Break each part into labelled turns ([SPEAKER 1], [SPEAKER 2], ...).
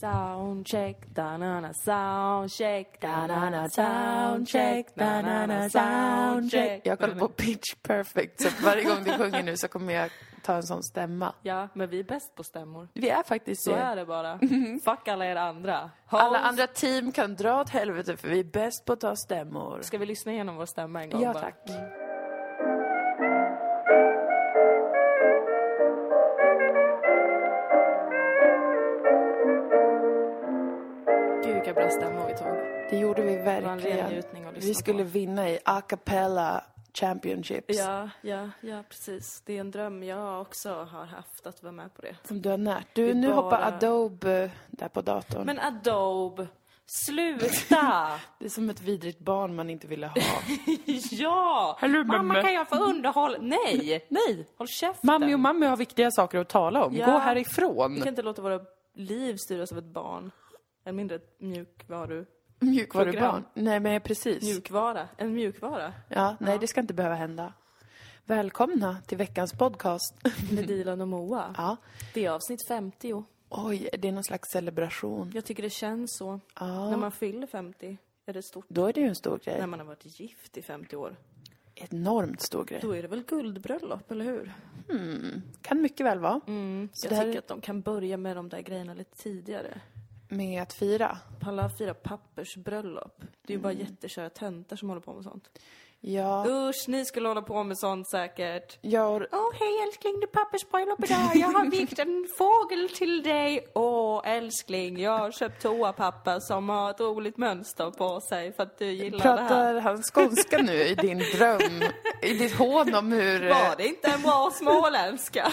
[SPEAKER 1] Sound check, da na na, sound check, da na na, sound check, da na na, sound check.
[SPEAKER 2] Jag kollar på Pitch Perfect, så att varje gång du sjunger nu så kommer jag ta en sån stämma.
[SPEAKER 1] Ja, men vi är bäst på stämmor.
[SPEAKER 2] Vi är faktiskt
[SPEAKER 1] Så
[SPEAKER 2] det.
[SPEAKER 1] är det bara. Fuck Mhm. alla er andra. Hans,
[SPEAKER 2] Alla andra team kan dra åt helvete för vi är bäst på att ta stämmor.
[SPEAKER 1] Ska vi lyssna igenom vår stämma en gång
[SPEAKER 2] Ja,
[SPEAKER 1] bara?
[SPEAKER 2] tack.
[SPEAKER 1] Gud vilka bra stämmor vi tog.
[SPEAKER 2] Det gjorde vi
[SPEAKER 1] Det var en ren
[SPEAKER 2] verkligen.
[SPEAKER 1] njutning att lyssna
[SPEAKER 2] Vi skulle
[SPEAKER 1] på.
[SPEAKER 2] vinna i a cappella championships.
[SPEAKER 1] Ja, ja, ja precis. Det är en dröm jag också har haft att vara med på det.
[SPEAKER 2] Som du har närt. Du,
[SPEAKER 1] Vi
[SPEAKER 2] nu hoppar
[SPEAKER 1] bara-
[SPEAKER 2] Adobe eh, där på datorn.
[SPEAKER 1] Men Adobe, sluta!
[SPEAKER 2] Det är som ett vidrigt barn man inte ville ha.
[SPEAKER 1] ja!
[SPEAKER 2] Hello,
[SPEAKER 1] Mamma
[SPEAKER 2] mamma.
[SPEAKER 1] kan jag få underhåll? Nej! Nej! Håll käften!
[SPEAKER 2] Mamma och mamma har viktiga saker att tala om.
[SPEAKER 1] Ja.
[SPEAKER 2] Gå
[SPEAKER 1] Vi
[SPEAKER 2] härifrån.
[SPEAKER 1] kan inte låta våra liv styras av ett barn. En mindre ett mjukvaru...
[SPEAKER 2] Mjukvarubarn.
[SPEAKER 1] Program.
[SPEAKER 2] Nej, men precis.
[SPEAKER 1] Mjukvara? En mjukvara?
[SPEAKER 2] Ja, nej, det ska inte behöva hända. Välkomna till veckans podcast.
[SPEAKER 1] Med Dilan och Moa.
[SPEAKER 2] Ja.
[SPEAKER 1] Det är avsnitt 50.
[SPEAKER 2] Oj, det är någon slags celebration.
[SPEAKER 1] Jag tycker det känns så.
[SPEAKER 2] Ja.
[SPEAKER 1] När man fyller 50 är det stort.
[SPEAKER 2] Då är det ju en stor grej.
[SPEAKER 1] När man har varit gift i 50 år.
[SPEAKER 2] Enormt stor grej.
[SPEAKER 1] Då är det väl guldbröllop, eller hur?
[SPEAKER 2] Kan mycket väl vara.
[SPEAKER 1] Så Mm, jag
[SPEAKER 2] det här-
[SPEAKER 1] tycker att de kan börja med de där grejerna lite tidigare.
[SPEAKER 2] Med att fira.
[SPEAKER 1] Palla fira pappersbröllop. Det är ju bara jätteköra töntar som håller på med sånt.
[SPEAKER 2] Mm. Ja,
[SPEAKER 1] Usch, ni skulle hålla på med sånt säkert.
[SPEAKER 2] jag och
[SPEAKER 1] Åh hej älskling, det är pappersbröllop idag. Jag har vikt en fågel till dig. Åh älskling, jag har köpt toapapper som har ett roligt mönster på sig för att du gillar det här.
[SPEAKER 2] Pratar han skånska nu i din dröm? I ditt hån om hur... eh,
[SPEAKER 1] Var det inte en bra småländska?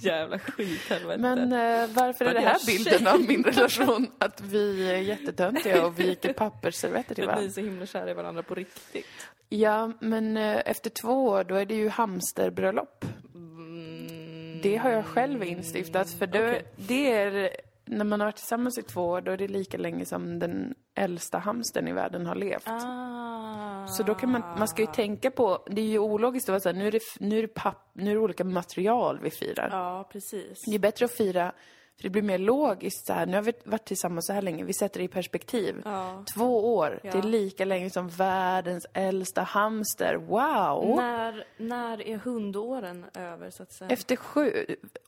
[SPEAKER 1] Jävla skithelvete.
[SPEAKER 2] Men eh, varför är
[SPEAKER 1] Vad
[SPEAKER 2] det
[SPEAKER 1] jag
[SPEAKER 2] här bilden av min relation att vi är jättetöntiga och viker pappersservetter till
[SPEAKER 1] För att ni är
[SPEAKER 2] varandra?
[SPEAKER 1] så himla kära i varandra på riktigt.
[SPEAKER 2] Ja, men eh, efter två år då är det ju hamsterbröllop. Det har jag själv instiftat för då,
[SPEAKER 1] okej.
[SPEAKER 2] det är... När man har varit tillsammans i två år då är det lika länge som den äldsta hamstern i världen har levt.
[SPEAKER 1] Ah.
[SPEAKER 2] Så då kan man, man ska ju tänka på, det är ju ologiskt att vara såhär, nu är det, f- nu är det, papp, nu är det olika material vi firar.
[SPEAKER 1] Ja, precis.
[SPEAKER 2] Det är bättre att fira, för det blir mer logiskt så här. nu har vi varit tillsammans så här länge, vi sätter det i perspektiv.
[SPEAKER 1] Ja.
[SPEAKER 2] Två år, det
[SPEAKER 1] Ja.
[SPEAKER 2] är lika länge som världens äldsta hamster, wow!
[SPEAKER 1] När, när är hundåren över, så att säga?
[SPEAKER 2] Efter sju,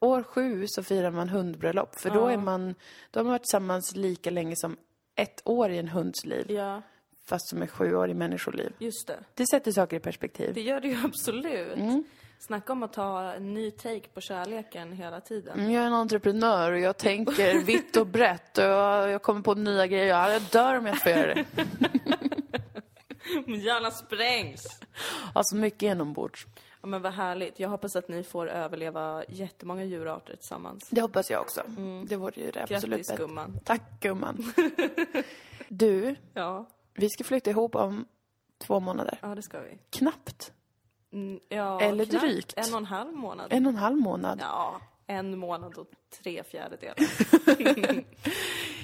[SPEAKER 2] år sju så firar man hundbröllop, för då är man, då har man varit tillsammans lika länge som ett år i en hunds liv,
[SPEAKER 1] Ja,
[SPEAKER 2] fast som är sju år i människoliv.
[SPEAKER 1] just det.
[SPEAKER 2] Det sätter saker i perspektiv.
[SPEAKER 1] Det gör det ju absolut.
[SPEAKER 2] Mm.
[SPEAKER 1] Snacka om att ta en ny take på kärleken hela tiden.
[SPEAKER 2] Mm, Jag är en entreprenör och jag tänker vitt och brett och jag, jag kommer på nya grejer. Jag dör om jag inte får göra det. Mm.
[SPEAKER 1] Min hjärna sprängs!
[SPEAKER 2] Alltså mycket genombords.
[SPEAKER 1] Ja, men vad härligt. Jag hoppas att ni får överleva jättemånga djurarter tillsammans.
[SPEAKER 2] Det hoppas jag också. Det vore ju det absolut
[SPEAKER 1] Mm. Grattis
[SPEAKER 2] bästa.
[SPEAKER 1] gumman.
[SPEAKER 2] Tack gumman. Du,
[SPEAKER 1] Ja,
[SPEAKER 2] vi ska flytta ihop om två månader.
[SPEAKER 1] ja det ska vi.
[SPEAKER 2] Knappt.
[SPEAKER 1] Mm, Ja,
[SPEAKER 2] Eller
[SPEAKER 1] knappt
[SPEAKER 2] drygt.
[SPEAKER 1] En och en halv månad.
[SPEAKER 2] En och en halv månad.
[SPEAKER 1] Ja, en månad och tre fjärdedelar.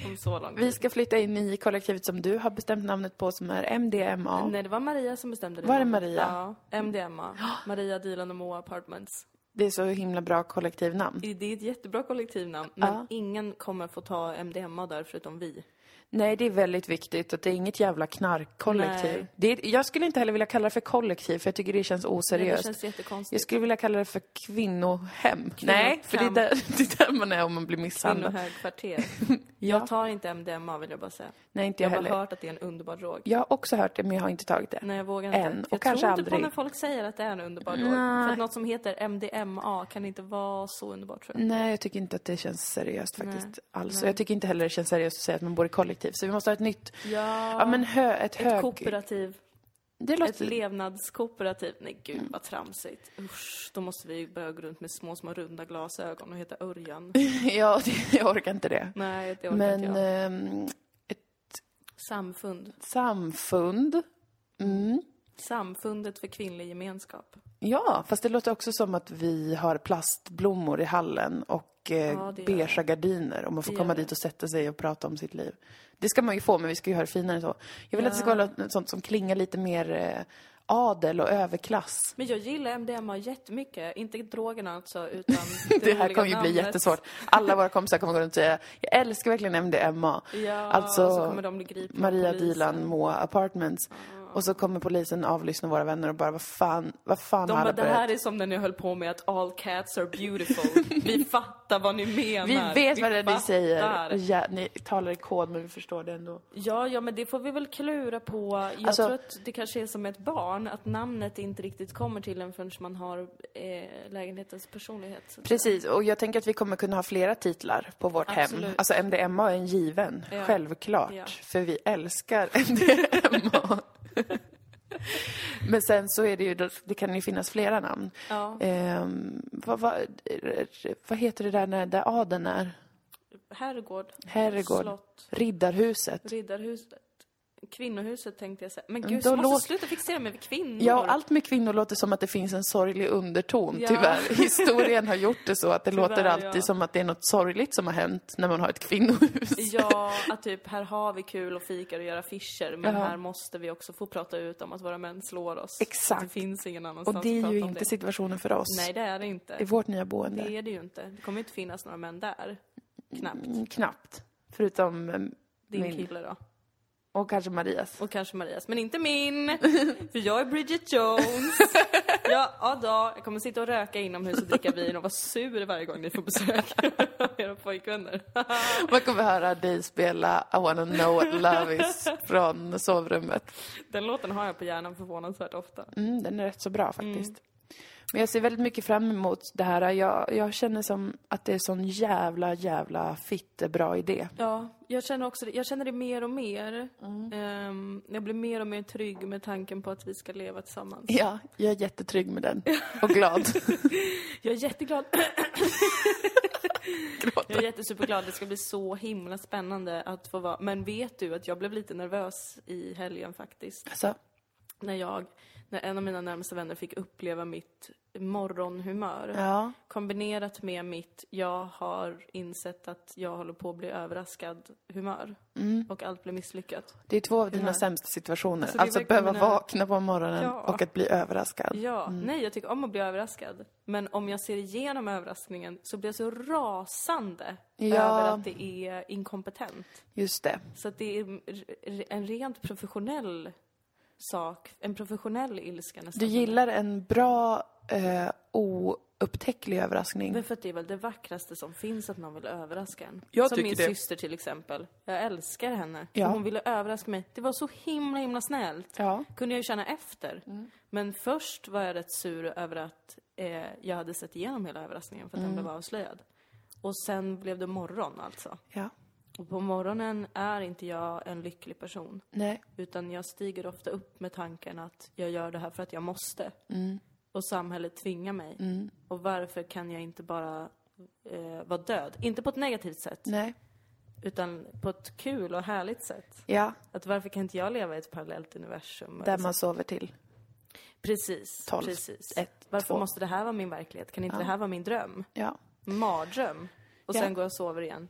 [SPEAKER 1] Om så lång tid.
[SPEAKER 2] Vi ska flytta in i kollektivet som du har bestämt namnet på som är MDMA.
[SPEAKER 1] Nej, det var Maria som bestämde det.
[SPEAKER 2] Var det Maria?
[SPEAKER 1] Ja, MDMA. Maria Dylan och Moa Apartments.
[SPEAKER 2] Det är så himla bra kollektivnamn.
[SPEAKER 1] Det är ett jättebra kollektivnamn, men
[SPEAKER 2] Ja.
[SPEAKER 1] ingen kommer få ta MDMA där förutom vi.
[SPEAKER 2] Nej, det är väldigt viktigt att det är inget jävla knarkkollektiv.
[SPEAKER 1] Nej.
[SPEAKER 2] Det är, jag skulle inte heller vilja kalla det för kollektiv, för jag tycker det känns
[SPEAKER 1] Nej,
[SPEAKER 2] oseriöst.
[SPEAKER 1] Det känns
[SPEAKER 2] Jag
[SPEAKER 1] jättekonstigt.
[SPEAKER 2] skulle vilja kalla det för kvinnohem. Nej, för det är,
[SPEAKER 1] Kvinnokamp.
[SPEAKER 2] där, det är där man är om man blir misshandlad.
[SPEAKER 1] Kvinnohögkvarter.
[SPEAKER 2] Ja.
[SPEAKER 1] Jag tar inte MDMA vill jag bara säga.
[SPEAKER 2] Nej, inte
[SPEAKER 1] Jag
[SPEAKER 2] jag,
[SPEAKER 1] har bara
[SPEAKER 2] heller.
[SPEAKER 1] hört att det är en underbar drog.
[SPEAKER 2] Jag har också hört det, men jag har inte tagit det.
[SPEAKER 1] Nej, jag vågar inte.
[SPEAKER 2] Än, och
[SPEAKER 1] jag
[SPEAKER 2] kanske
[SPEAKER 1] tror inte på
[SPEAKER 2] aldrig.
[SPEAKER 1] när folk säger att det är en underbar drog. För att något som heter MDMA kan inte vara så underbart tror jag.
[SPEAKER 2] Nej, jag tycker inte att det känns seriöst faktiskt
[SPEAKER 1] Nej,
[SPEAKER 2] alls. Och jag tycker inte heller det känns seriöst att säga att man bor i kollektiv. Så vi måste ha ett nytt.
[SPEAKER 1] Ja,
[SPEAKER 2] Mm. Ja, men hö, ett, hög...
[SPEAKER 1] ett kooperativ.
[SPEAKER 2] Det
[SPEAKER 1] Ett
[SPEAKER 2] låter...
[SPEAKER 1] levnadskooperativ. Nej
[SPEAKER 2] Mm.
[SPEAKER 1] gud vad tramsigt. Usch, då måste vi ju börja gå runt med små, små runda glasögon och heta Örjan.
[SPEAKER 2] ja, det, jag orkar inte det.
[SPEAKER 1] Nej, det orkar
[SPEAKER 2] Men
[SPEAKER 1] inte jag.
[SPEAKER 2] ehm, ett
[SPEAKER 1] Samfund.
[SPEAKER 2] samfund. Mm.
[SPEAKER 1] Samfundet för kvinnlig gemenskap.
[SPEAKER 2] Ja, fast det låter också som att vi har plastblommor i hallen och eh,
[SPEAKER 1] Ja, det gör
[SPEAKER 2] beiga gardiner och man får
[SPEAKER 1] Det
[SPEAKER 2] komma
[SPEAKER 1] gör det.
[SPEAKER 2] dit och sätta sig och prata om sitt liv. Det ska man ju få, men vi ska ju ha det finare än så. Jag vill att det ska vara något sånt som klingar lite mer eh, adel och överklass.
[SPEAKER 1] Men jag gillar MDMA jättemycket. Inte drogerna alltså, utan det,
[SPEAKER 2] Det här
[SPEAKER 1] roliga
[SPEAKER 2] kommer ju bli
[SPEAKER 1] namnet.
[SPEAKER 2] jättesvårt. Alla våra kompisar kommer gå runt och säga jag älskar verkligen MDMA.
[SPEAKER 1] Ja,
[SPEAKER 2] alltså
[SPEAKER 1] och så kommer de bli gripna av
[SPEAKER 2] Maria
[SPEAKER 1] polisen.
[SPEAKER 2] Dilan, Moa Apartments. Och så kommer polisen avlyssna våra vänner och bara vad fan, vad fan
[SPEAKER 1] De
[SPEAKER 2] har
[SPEAKER 1] bara,
[SPEAKER 2] alla
[SPEAKER 1] det
[SPEAKER 2] börjat?
[SPEAKER 1] här är som när ni höll på med att all cats are beautiful. Vi fattar vad ni menar.
[SPEAKER 2] Vi vet vad det är ni säger.
[SPEAKER 1] fattar."
[SPEAKER 2] Ja, ni talar i kod men vi förstår det ändå.
[SPEAKER 1] Ja, ja, men det får vi väl klura på. Jag
[SPEAKER 2] Alltså-
[SPEAKER 1] tror att det kanske är som ett barn, att namnet inte riktigt kommer till en förrän man har eh, lägenhetens personlighet. Så-
[SPEAKER 2] Precis, och jag tänker att vi kommer kunna ha flera titlar på vårt hem.
[SPEAKER 1] Absolut.
[SPEAKER 2] Alltså MDMA är en given,
[SPEAKER 1] Ja.
[SPEAKER 2] självklart.
[SPEAKER 1] Ja.
[SPEAKER 2] För vi älskar MDMA. Men sen så är det ju, det kan ju finnas flera namn.
[SPEAKER 1] Ja,
[SPEAKER 2] Ehm, vad, vad, vad heter det där, när, där adeln är?
[SPEAKER 1] herrgård,
[SPEAKER 2] Herrgård.
[SPEAKER 1] slott,
[SPEAKER 2] Riddarhuset.
[SPEAKER 1] riddarhuset, kvinnohuset tänkte jag säga. Men
[SPEAKER 2] Mm,
[SPEAKER 1] gud,
[SPEAKER 2] då
[SPEAKER 1] jag måste
[SPEAKER 2] låt-
[SPEAKER 1] sluta fixera mig vid kvinnor.
[SPEAKER 2] Ja, och allt med kvinnor låter som att det finns en sorglig underton,
[SPEAKER 1] Ja.
[SPEAKER 2] tyvärr. Historien har gjort det så att det låter
[SPEAKER 1] Tyvärr,
[SPEAKER 2] alltid
[SPEAKER 1] ja.
[SPEAKER 2] som att det är något sorgligt som har hänt när man har ett kvinnohus.
[SPEAKER 1] Ja, att typ här har vi kul och fikar och gör affischer, men
[SPEAKER 2] Ja.
[SPEAKER 1] här måste vi också få prata ut om att våra män slår oss.
[SPEAKER 2] Exakt.
[SPEAKER 1] Det finns ingen annanstans
[SPEAKER 2] Och det är
[SPEAKER 1] att
[SPEAKER 2] ju
[SPEAKER 1] prata om
[SPEAKER 2] inte
[SPEAKER 1] det.
[SPEAKER 2] situationen för oss.
[SPEAKER 1] Nej, det är det inte.
[SPEAKER 2] I vårt nya boende.
[SPEAKER 1] Det är det ju inte. Det kommer inte finnas några män där. Knappt.
[SPEAKER 2] Mm, Knappt. Förutom eh,
[SPEAKER 1] Din
[SPEAKER 2] min.
[SPEAKER 1] kille då.
[SPEAKER 2] Och kanske Marias.
[SPEAKER 1] Och kanske Marias, men inte min! För jag är Bridget Jones. Ja, ja då. Jag kommer sitta och röka inomhus och dricka vin och vara sur varje gång ni får besök av era pojkvänner.
[SPEAKER 2] Man kommer höra dig spela I wanna know what love is från sovrummet.
[SPEAKER 1] Den låten har jag på hjärnan förvånansvärt ofta.
[SPEAKER 2] Mm, den är rätt så bra faktiskt. Men jag ser väldigt mycket fram emot det här. Jag, jag känner som att det är sån jävla, jävla fittebra idé.
[SPEAKER 1] Ja, jag känner också det. Jag känner det mer och mer. Ehm, jag blir mer och mer trygg med tanken på att vi ska leva tillsammans.
[SPEAKER 2] Ja, jag är jättetrygg med den. Och glad.
[SPEAKER 1] Jag är jätteglad. Jag är
[SPEAKER 2] Gråter.
[SPEAKER 1] jättesuperglad. Det ska bli så himla spännande att få vara... Men vet du att jag blev lite nervös i helgen faktiskt?
[SPEAKER 2] alltså,
[SPEAKER 1] när jag, när en av mina närmaste vänner fick uppleva mitt morgonhumör.
[SPEAKER 2] ja.
[SPEAKER 1] Kombinerat med mitt, jag har insett att jag håller på att bli överraskad humör. Och allt blir misslyckat.
[SPEAKER 2] Det är två av dina
[SPEAKER 1] Humör.
[SPEAKER 2] sämsta situationer. Alltså,
[SPEAKER 1] det är verkligen
[SPEAKER 2] att behöva
[SPEAKER 1] mina-
[SPEAKER 2] vakna på morgonen
[SPEAKER 1] Ja.
[SPEAKER 2] och att bli överraskad.
[SPEAKER 1] Ja, nej jag tycker om att bli överraskad. Men om jag ser igenom överraskningen så blir jag så rasande
[SPEAKER 2] Ja.
[SPEAKER 1] över att det är inkompetent.
[SPEAKER 2] Just det.
[SPEAKER 1] Så att det är r- en rent professionell sak, en professionell ilska nästan.
[SPEAKER 2] Du gillar en bra, eh, oupptäcklig överraskning.
[SPEAKER 1] Men för att det är väl det vackraste som finns att någon vill överraska en.
[SPEAKER 2] Jag
[SPEAKER 1] som
[SPEAKER 2] tycker
[SPEAKER 1] min
[SPEAKER 2] det.
[SPEAKER 1] syster till exempel. Jag älskar henne.
[SPEAKER 2] Ja.
[SPEAKER 1] Hon ville överraska mig. Det var så himla himla snällt.
[SPEAKER 2] Ja.
[SPEAKER 1] Kunde jag ju känna efter. Men först var jag rätt sur över att eh, jag hade sett igenom hela överraskningen för att den blev avslöjad. Och sen blev det morgon alltså.
[SPEAKER 2] Ja.
[SPEAKER 1] Och på morgonen är inte jag en lycklig person.
[SPEAKER 2] Nej.
[SPEAKER 1] Utan jag stiger ofta upp med tanken att jag gör det här för att jag måste. Och samhället tvingar mig. Och varför kan jag inte bara eh, vara död? Inte på ett negativt sätt,
[SPEAKER 2] Nej.
[SPEAKER 1] utan på ett kul och härligt sätt.
[SPEAKER 2] Ja.
[SPEAKER 1] Att varför kan inte jag leva i ett parallellt universum?
[SPEAKER 2] Där
[SPEAKER 1] Alltså,
[SPEAKER 2] man sover till.
[SPEAKER 1] Precis,
[SPEAKER 2] Tolv,
[SPEAKER 1] precis.
[SPEAKER 2] ett,
[SPEAKER 1] varför
[SPEAKER 2] två.
[SPEAKER 1] måste det här vara min verklighet? Kan inte det här vara min dröm?
[SPEAKER 2] Ja.
[SPEAKER 1] Mardröm. Och
[SPEAKER 2] Ja.
[SPEAKER 1] sen går jag och sover igen.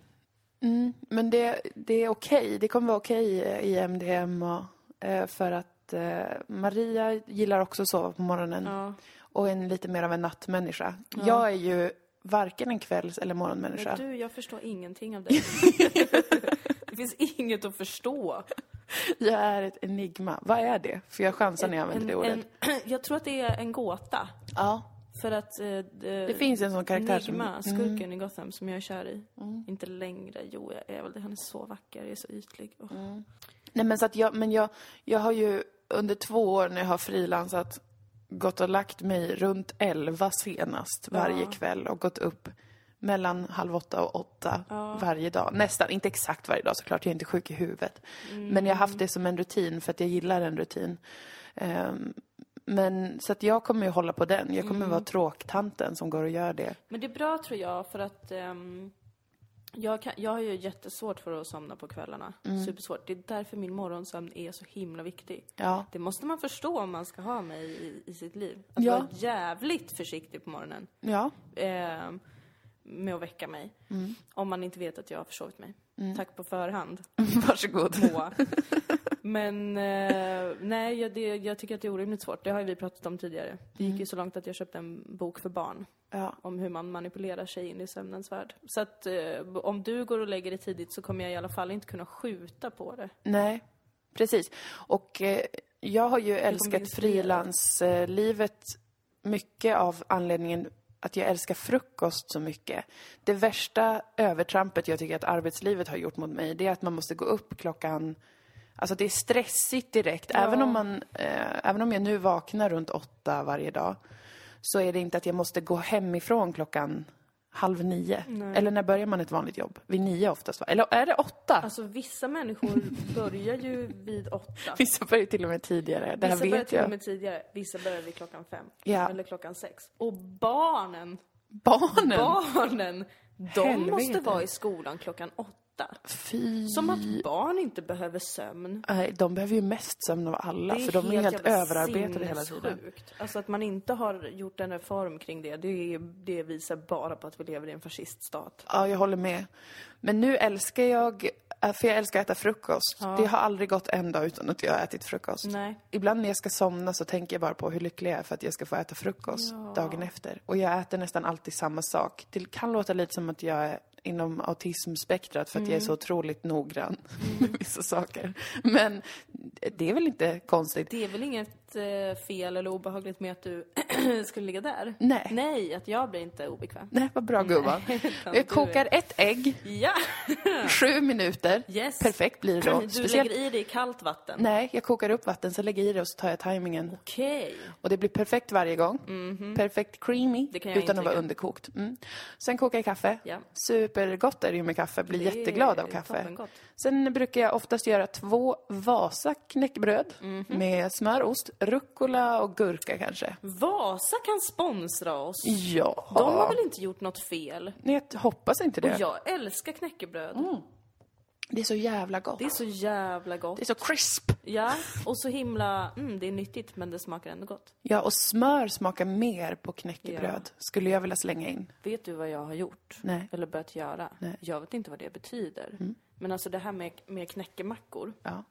[SPEAKER 2] Mm. Men det, det är okej. Det kommer vara okej eh, i MDM och, eh, för att eh, Maria gillar också att sova på morgonen
[SPEAKER 1] Ja.
[SPEAKER 2] och är en lite mer av en nattmänniska. Jag är ju varken en kvälls eller morgonmänniska.
[SPEAKER 1] Men du, jag förstår ingenting av dig. det finns inget att förstå.
[SPEAKER 2] Jag är ett enigma. Vad är det? För jag chansar när jag använder det ordet.
[SPEAKER 1] en- jag tror att det är en gåta.
[SPEAKER 2] Ja.
[SPEAKER 1] För att... Eh,
[SPEAKER 2] Det finns en sån karaktär
[SPEAKER 1] Nigma,
[SPEAKER 2] som... Mm.
[SPEAKER 1] skurken i Gotham, som jag är kär i. Inte längre. Jo, jag är väl det. Han är så vacker. Jag är så ytlig. Åh.
[SPEAKER 2] Nej men så att jag, men jag, jag har ju under två år när jag har frilansat gått och lagt mig runt elva senast varje kväll och gått upp mellan halv åtta och åtta varje dag. Nästan, inte exakt varje dag såklart, jag är inte sjuk i huvudet. Men jag har haft det som en rutin för att jag gillar en rutin. Ehm, men så att jag kommer ju hålla på den. Jag kommer vara tråktanten som går och gör det.
[SPEAKER 1] Men det är bra, tror jag, för att... ehm, jag, kan, jag har ju jättesvårt för att somna på kvällarna. Supersvårt. Det är därför min morgonsömn är så himla viktig.
[SPEAKER 2] Ja.
[SPEAKER 1] Det måste man förstå om man ska ha mig i, i sitt liv. Att
[SPEAKER 2] Ja.
[SPEAKER 1] vara jävligt försiktig på morgonen.
[SPEAKER 2] Ja.
[SPEAKER 1] Ehm, med att väcka mig. Om man inte vet att jag har försovit mig. Tack på förhand,
[SPEAKER 2] Varsågod.
[SPEAKER 1] Moa. Men eh, nej, jag, det, jag tycker att det är orimligt svårt. Det har ju vi pratat om tidigare. Det gick ju så långt att jag köpte en bok för barn
[SPEAKER 2] Ja.
[SPEAKER 1] om hur man manipulerar sig in i sömnens värld. Så att eh, om du går och lägger dig tidigt så kommer jag i alla fall inte kunna skjuta på det.
[SPEAKER 2] Nej, precis. Och eh, jag har ju älskat
[SPEAKER 1] inspirera.
[SPEAKER 2] frilanslivet mycket av anledningen att jag älskar frukost så mycket. Det värsta övertrampet jag tycker att arbetslivet har gjort mot mig, det är att man måste gå upp klockan Alltså det är stressigt direkt. Även, om man, eh, även om jag nu vaknar runt åtta varje dag så är det inte att jag måste gå hemifrån klockan halv nio. Eller när börjar man ett vanligt jobb? Vid nio oftast, va? Eller är det åtta?
[SPEAKER 1] Alltså vissa människor börjar ju vid åtta.
[SPEAKER 2] Vissa börjar till och med tidigare. Det här
[SPEAKER 1] Vissa börjar
[SPEAKER 2] vet
[SPEAKER 1] till och
[SPEAKER 2] jag.
[SPEAKER 1] med tidigare, vissa börjar vid klockan fem.
[SPEAKER 2] Ja.
[SPEAKER 1] Eller klockan sex. Och barnen,
[SPEAKER 2] Barnen!
[SPEAKER 1] barnen, de
[SPEAKER 2] Helvete.
[SPEAKER 1] måste vara i skolan klockan åtta.
[SPEAKER 2] Fy!
[SPEAKER 1] Som att barn inte behöver sömn.
[SPEAKER 2] Nej, de behöver ju mest sömn av alla,
[SPEAKER 1] Alltså,
[SPEAKER 2] för de är helt
[SPEAKER 1] jävla
[SPEAKER 2] överarbetade hela tiden.
[SPEAKER 1] sinnessjukt. Alltså att man inte har gjort en reform kring det, det, är- det visar bara på att vi lever i en fasciststat.
[SPEAKER 2] Ja, jag håller med. Men nu älskar jag, äh, för jag älskar att äta frukost. Det har aldrig gått en dag utan att jag har ätit frukost.
[SPEAKER 1] Nej.
[SPEAKER 2] Ibland när jag ska somna så tänker jag bara på hur lycklig jag är för att jag ska få äta frukost dagen efter. Och jag äter nästan alltid samma sak. Det kan låta lite som att jag är inom autismspektrat för att
[SPEAKER 1] Mm.
[SPEAKER 2] jag är så otroligt noggrann med vissa saker. Men det är väl inte konstigt?
[SPEAKER 1] Det är väl inget eh, fel eller obehagligt med att du skulle ligga där?
[SPEAKER 2] Nej.
[SPEAKER 1] Nej, att jag blir inte obekväm.
[SPEAKER 2] Nej, vad bra gumman.
[SPEAKER 1] utan
[SPEAKER 2] Jag
[SPEAKER 1] du
[SPEAKER 2] kokar ett ägg,
[SPEAKER 1] Ja!
[SPEAKER 2] sju minuter.
[SPEAKER 1] Yes.
[SPEAKER 2] Perfekt blir det då.
[SPEAKER 1] Du
[SPEAKER 2] Speciellt...
[SPEAKER 1] lägger i det i kallt vatten?
[SPEAKER 2] Nej, jag kokar upp vatten, så lägger jag i det och så tar jag tajmingen.
[SPEAKER 1] Okej.
[SPEAKER 2] Och det blir perfekt varje gång. Perfekt creamy,
[SPEAKER 1] Mhm. Det kan jag
[SPEAKER 2] utan att vara
[SPEAKER 1] intyga.
[SPEAKER 2] underkokt. Mm. Sen kokar jag kaffe.
[SPEAKER 1] Ja.
[SPEAKER 2] Supergott är det ju med kaffe. Blir
[SPEAKER 1] Det är
[SPEAKER 2] jätteglad av kaffe.
[SPEAKER 1] toppengott.
[SPEAKER 2] Sen brukar jag oftast göra två Vasa knäckbröd
[SPEAKER 1] Mhm.
[SPEAKER 2] med smör, ost, rucola och gurka kanske.
[SPEAKER 1] Vasa kan sponsra oss.
[SPEAKER 2] Ja.
[SPEAKER 1] Mm. De har väl inte gjort något fel?
[SPEAKER 2] Nej, jag hoppas inte det.
[SPEAKER 1] Jag älskar knäckebröd.
[SPEAKER 2] Det är så jävla gott.
[SPEAKER 1] Det är så jävla gott.
[SPEAKER 2] Det är så crisp.
[SPEAKER 1] Ja, och så himla... Mm, det är nyttigt men det smakar ändå gott.
[SPEAKER 2] Ja, och smör smakar mer på knäckebröd. Skulle jag vilja slänga in.
[SPEAKER 1] Vet du vad jag har gjort?
[SPEAKER 2] Nej. Mm.
[SPEAKER 1] Eller börjat göra? Jag vet inte vad det betyder. Men alltså det här med, med knäckemackor.
[SPEAKER 2] Ja.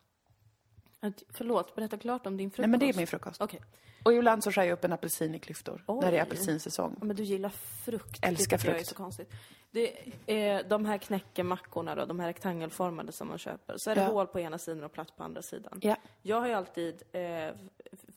[SPEAKER 1] Att, förlåt, berätta klart om din frukost.
[SPEAKER 2] Nej, men det är min frukost.
[SPEAKER 1] Okej.
[SPEAKER 2] Och ibland så skär jag upp en apelsin i klyftor.
[SPEAKER 1] Oj.
[SPEAKER 2] När det är apelsinsäsong.
[SPEAKER 1] Ja, Men du gillar frukt.
[SPEAKER 2] Älskar
[SPEAKER 1] det tycker jag är
[SPEAKER 2] frukt.
[SPEAKER 1] så konstigt. Det, eh, de här knäckemackorna då, de här rektangelformade som man köper. Så är det
[SPEAKER 2] Ja.
[SPEAKER 1] hål på ena sidan och platt på andra sidan.
[SPEAKER 2] Ja.
[SPEAKER 1] Jag har ju alltid eh,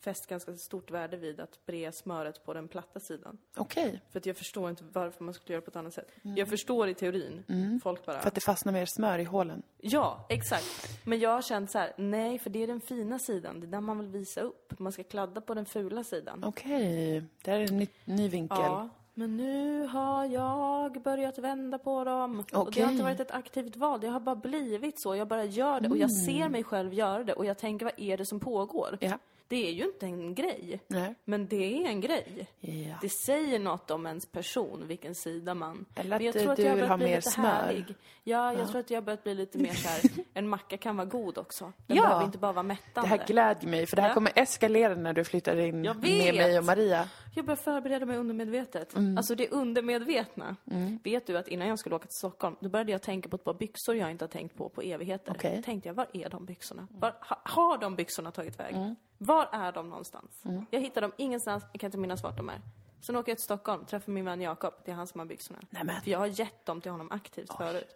[SPEAKER 1] fäst ganska stort värde vid att bre smöret på den platta sidan.
[SPEAKER 2] Okej.
[SPEAKER 1] För att jag förstår inte varför man skulle göra på ett annat sätt.
[SPEAKER 2] Mm.
[SPEAKER 1] Jag förstår i teorin. Folk bara...
[SPEAKER 2] För att det fastnar mer smör i hålen.
[SPEAKER 1] Ja, exakt. Men jag har känt så här: nej, för det är den fina sidan. Det är där man vill visa upp. Man ska kladda på den fula sidan.
[SPEAKER 2] Okej. Det här är en ny, ny vinkel.
[SPEAKER 1] Ja, men nu har jag börjat vända på dem. Och det
[SPEAKER 2] Okej.
[SPEAKER 1] har inte varit ett aktivt val, det har bara blivit så. Jag bara gör det och jag ser mig själv göra det och jag tänker, vad är det som pågår?
[SPEAKER 2] Mm. Ja.
[SPEAKER 1] Det är ju inte en grej.
[SPEAKER 2] Nej.
[SPEAKER 1] Men det är en grej.
[SPEAKER 2] Ja.
[SPEAKER 1] Det säger något om ens person, vilken sida man...
[SPEAKER 2] Eller
[SPEAKER 1] Men
[SPEAKER 2] att,
[SPEAKER 1] jag
[SPEAKER 2] eh,
[SPEAKER 1] tror att
[SPEAKER 2] du
[SPEAKER 1] jag har
[SPEAKER 2] vill
[SPEAKER 1] börjat
[SPEAKER 2] ha
[SPEAKER 1] bli
[SPEAKER 2] mer
[SPEAKER 1] lite
[SPEAKER 2] smör.
[SPEAKER 1] härlig. Ja, jag tror att jag har börjat bli lite mer så här. en macka kan vara god också. Den
[SPEAKER 2] Ja.
[SPEAKER 1] behöver inte bara vara
[SPEAKER 2] Det
[SPEAKER 1] mättande.
[SPEAKER 2] här glädjer mig, för det här
[SPEAKER 1] Ja.
[SPEAKER 2] kommer eskalera när du flyttar in
[SPEAKER 1] Jag
[SPEAKER 2] med
[SPEAKER 1] vet.
[SPEAKER 2] mig och Maria.
[SPEAKER 1] Jag börjar förbereda mig undermedvetet.
[SPEAKER 2] Mm.
[SPEAKER 1] Alltså det undermedvetna. Vet du att innan jag skulle åka till Stockholm, då började jag tänka på ett par byxor jag inte har tänkt på på evigheter.
[SPEAKER 2] Okej.
[SPEAKER 1] Då tänkte jag, var är de byxorna? Var, ha, har de byxorna tagit väg?
[SPEAKER 2] Mm.
[SPEAKER 1] Var är de någonstans? Jag hittar dem ingenstans, jag kan inte minnas vart de är. Sen åker jag till Stockholm, träffar min vän Jakob, det är han som har byxorna.
[SPEAKER 2] Nej, men-
[SPEAKER 1] För jag har gett dem till honom aktivt förut.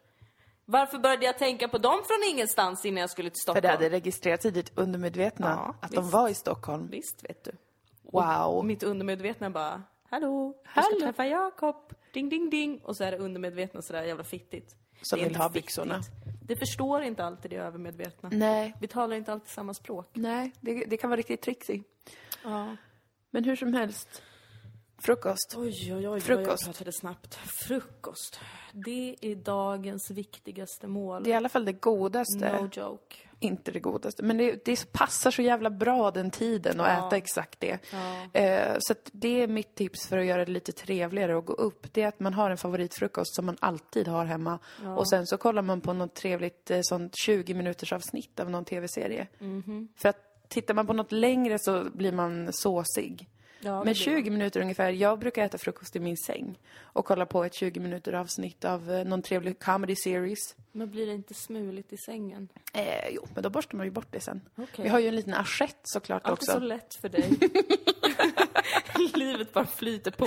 [SPEAKER 1] Varför började jag tänka på dem från ingenstans innan jag skulle till
[SPEAKER 2] För
[SPEAKER 1] Stockholm?
[SPEAKER 2] det hade registrerats i ditt undermedvetna
[SPEAKER 1] Ja,
[SPEAKER 2] att de
[SPEAKER 1] visst.
[SPEAKER 2] var i Stockholm.
[SPEAKER 1] Visst vet du. Och
[SPEAKER 2] Wow.
[SPEAKER 1] mitt undermedvetna bara, hallå, jag ska
[SPEAKER 2] Mm. Hallå.
[SPEAKER 1] träffa Jakob, ding ding ding. Och så är det undermedvetna sådär jävla fittigt.
[SPEAKER 2] Som
[SPEAKER 1] Det är
[SPEAKER 2] vill
[SPEAKER 1] inte
[SPEAKER 2] ha byxorna.
[SPEAKER 1] Det förstår inte alltid det övermedvetna.
[SPEAKER 2] Nej.
[SPEAKER 1] Vi talar inte alltid samma språk.
[SPEAKER 2] Nej, det, det kan vara riktigt trixig.
[SPEAKER 1] Ja.
[SPEAKER 2] Men hur som helst. Frukost.
[SPEAKER 1] Oj, oj, oj, Frukost.
[SPEAKER 2] Frukost.
[SPEAKER 1] jag pratade snabbt. Frukost. Det är dagens viktigaste mål.
[SPEAKER 2] Det är i alla fall det godaste.
[SPEAKER 1] No joke.
[SPEAKER 2] Inte det godaste. Men det, det passar så jävla bra den tiden att äta exakt det. Eh, så att det är mitt tips för att göra det lite trevligare att gå upp. Det är att man har en favoritfrukost som man alltid har hemma. Och sen så kollar man på något trevligt eh, sånt 20 minuters avsnitt Mhm. av någon tv-serie. För att tittar man på något längre så blir man såsig.
[SPEAKER 1] Ja,
[SPEAKER 2] Men
[SPEAKER 1] det blir
[SPEAKER 2] 20 minuter ungefär. Jag brukar äta frukost i min säng och kolla på ett 20 minuter avsnitt av eh, någon trevlig comedy series.
[SPEAKER 1] Men blir det inte smuligt i sängen?
[SPEAKER 2] Eh, jo, men då borstar man ju bort det sen.
[SPEAKER 1] Okej.
[SPEAKER 2] Vi har ju en liten assiett såklart
[SPEAKER 1] Allt är
[SPEAKER 2] också.
[SPEAKER 1] så lätt för dig. Livet bara flyter på.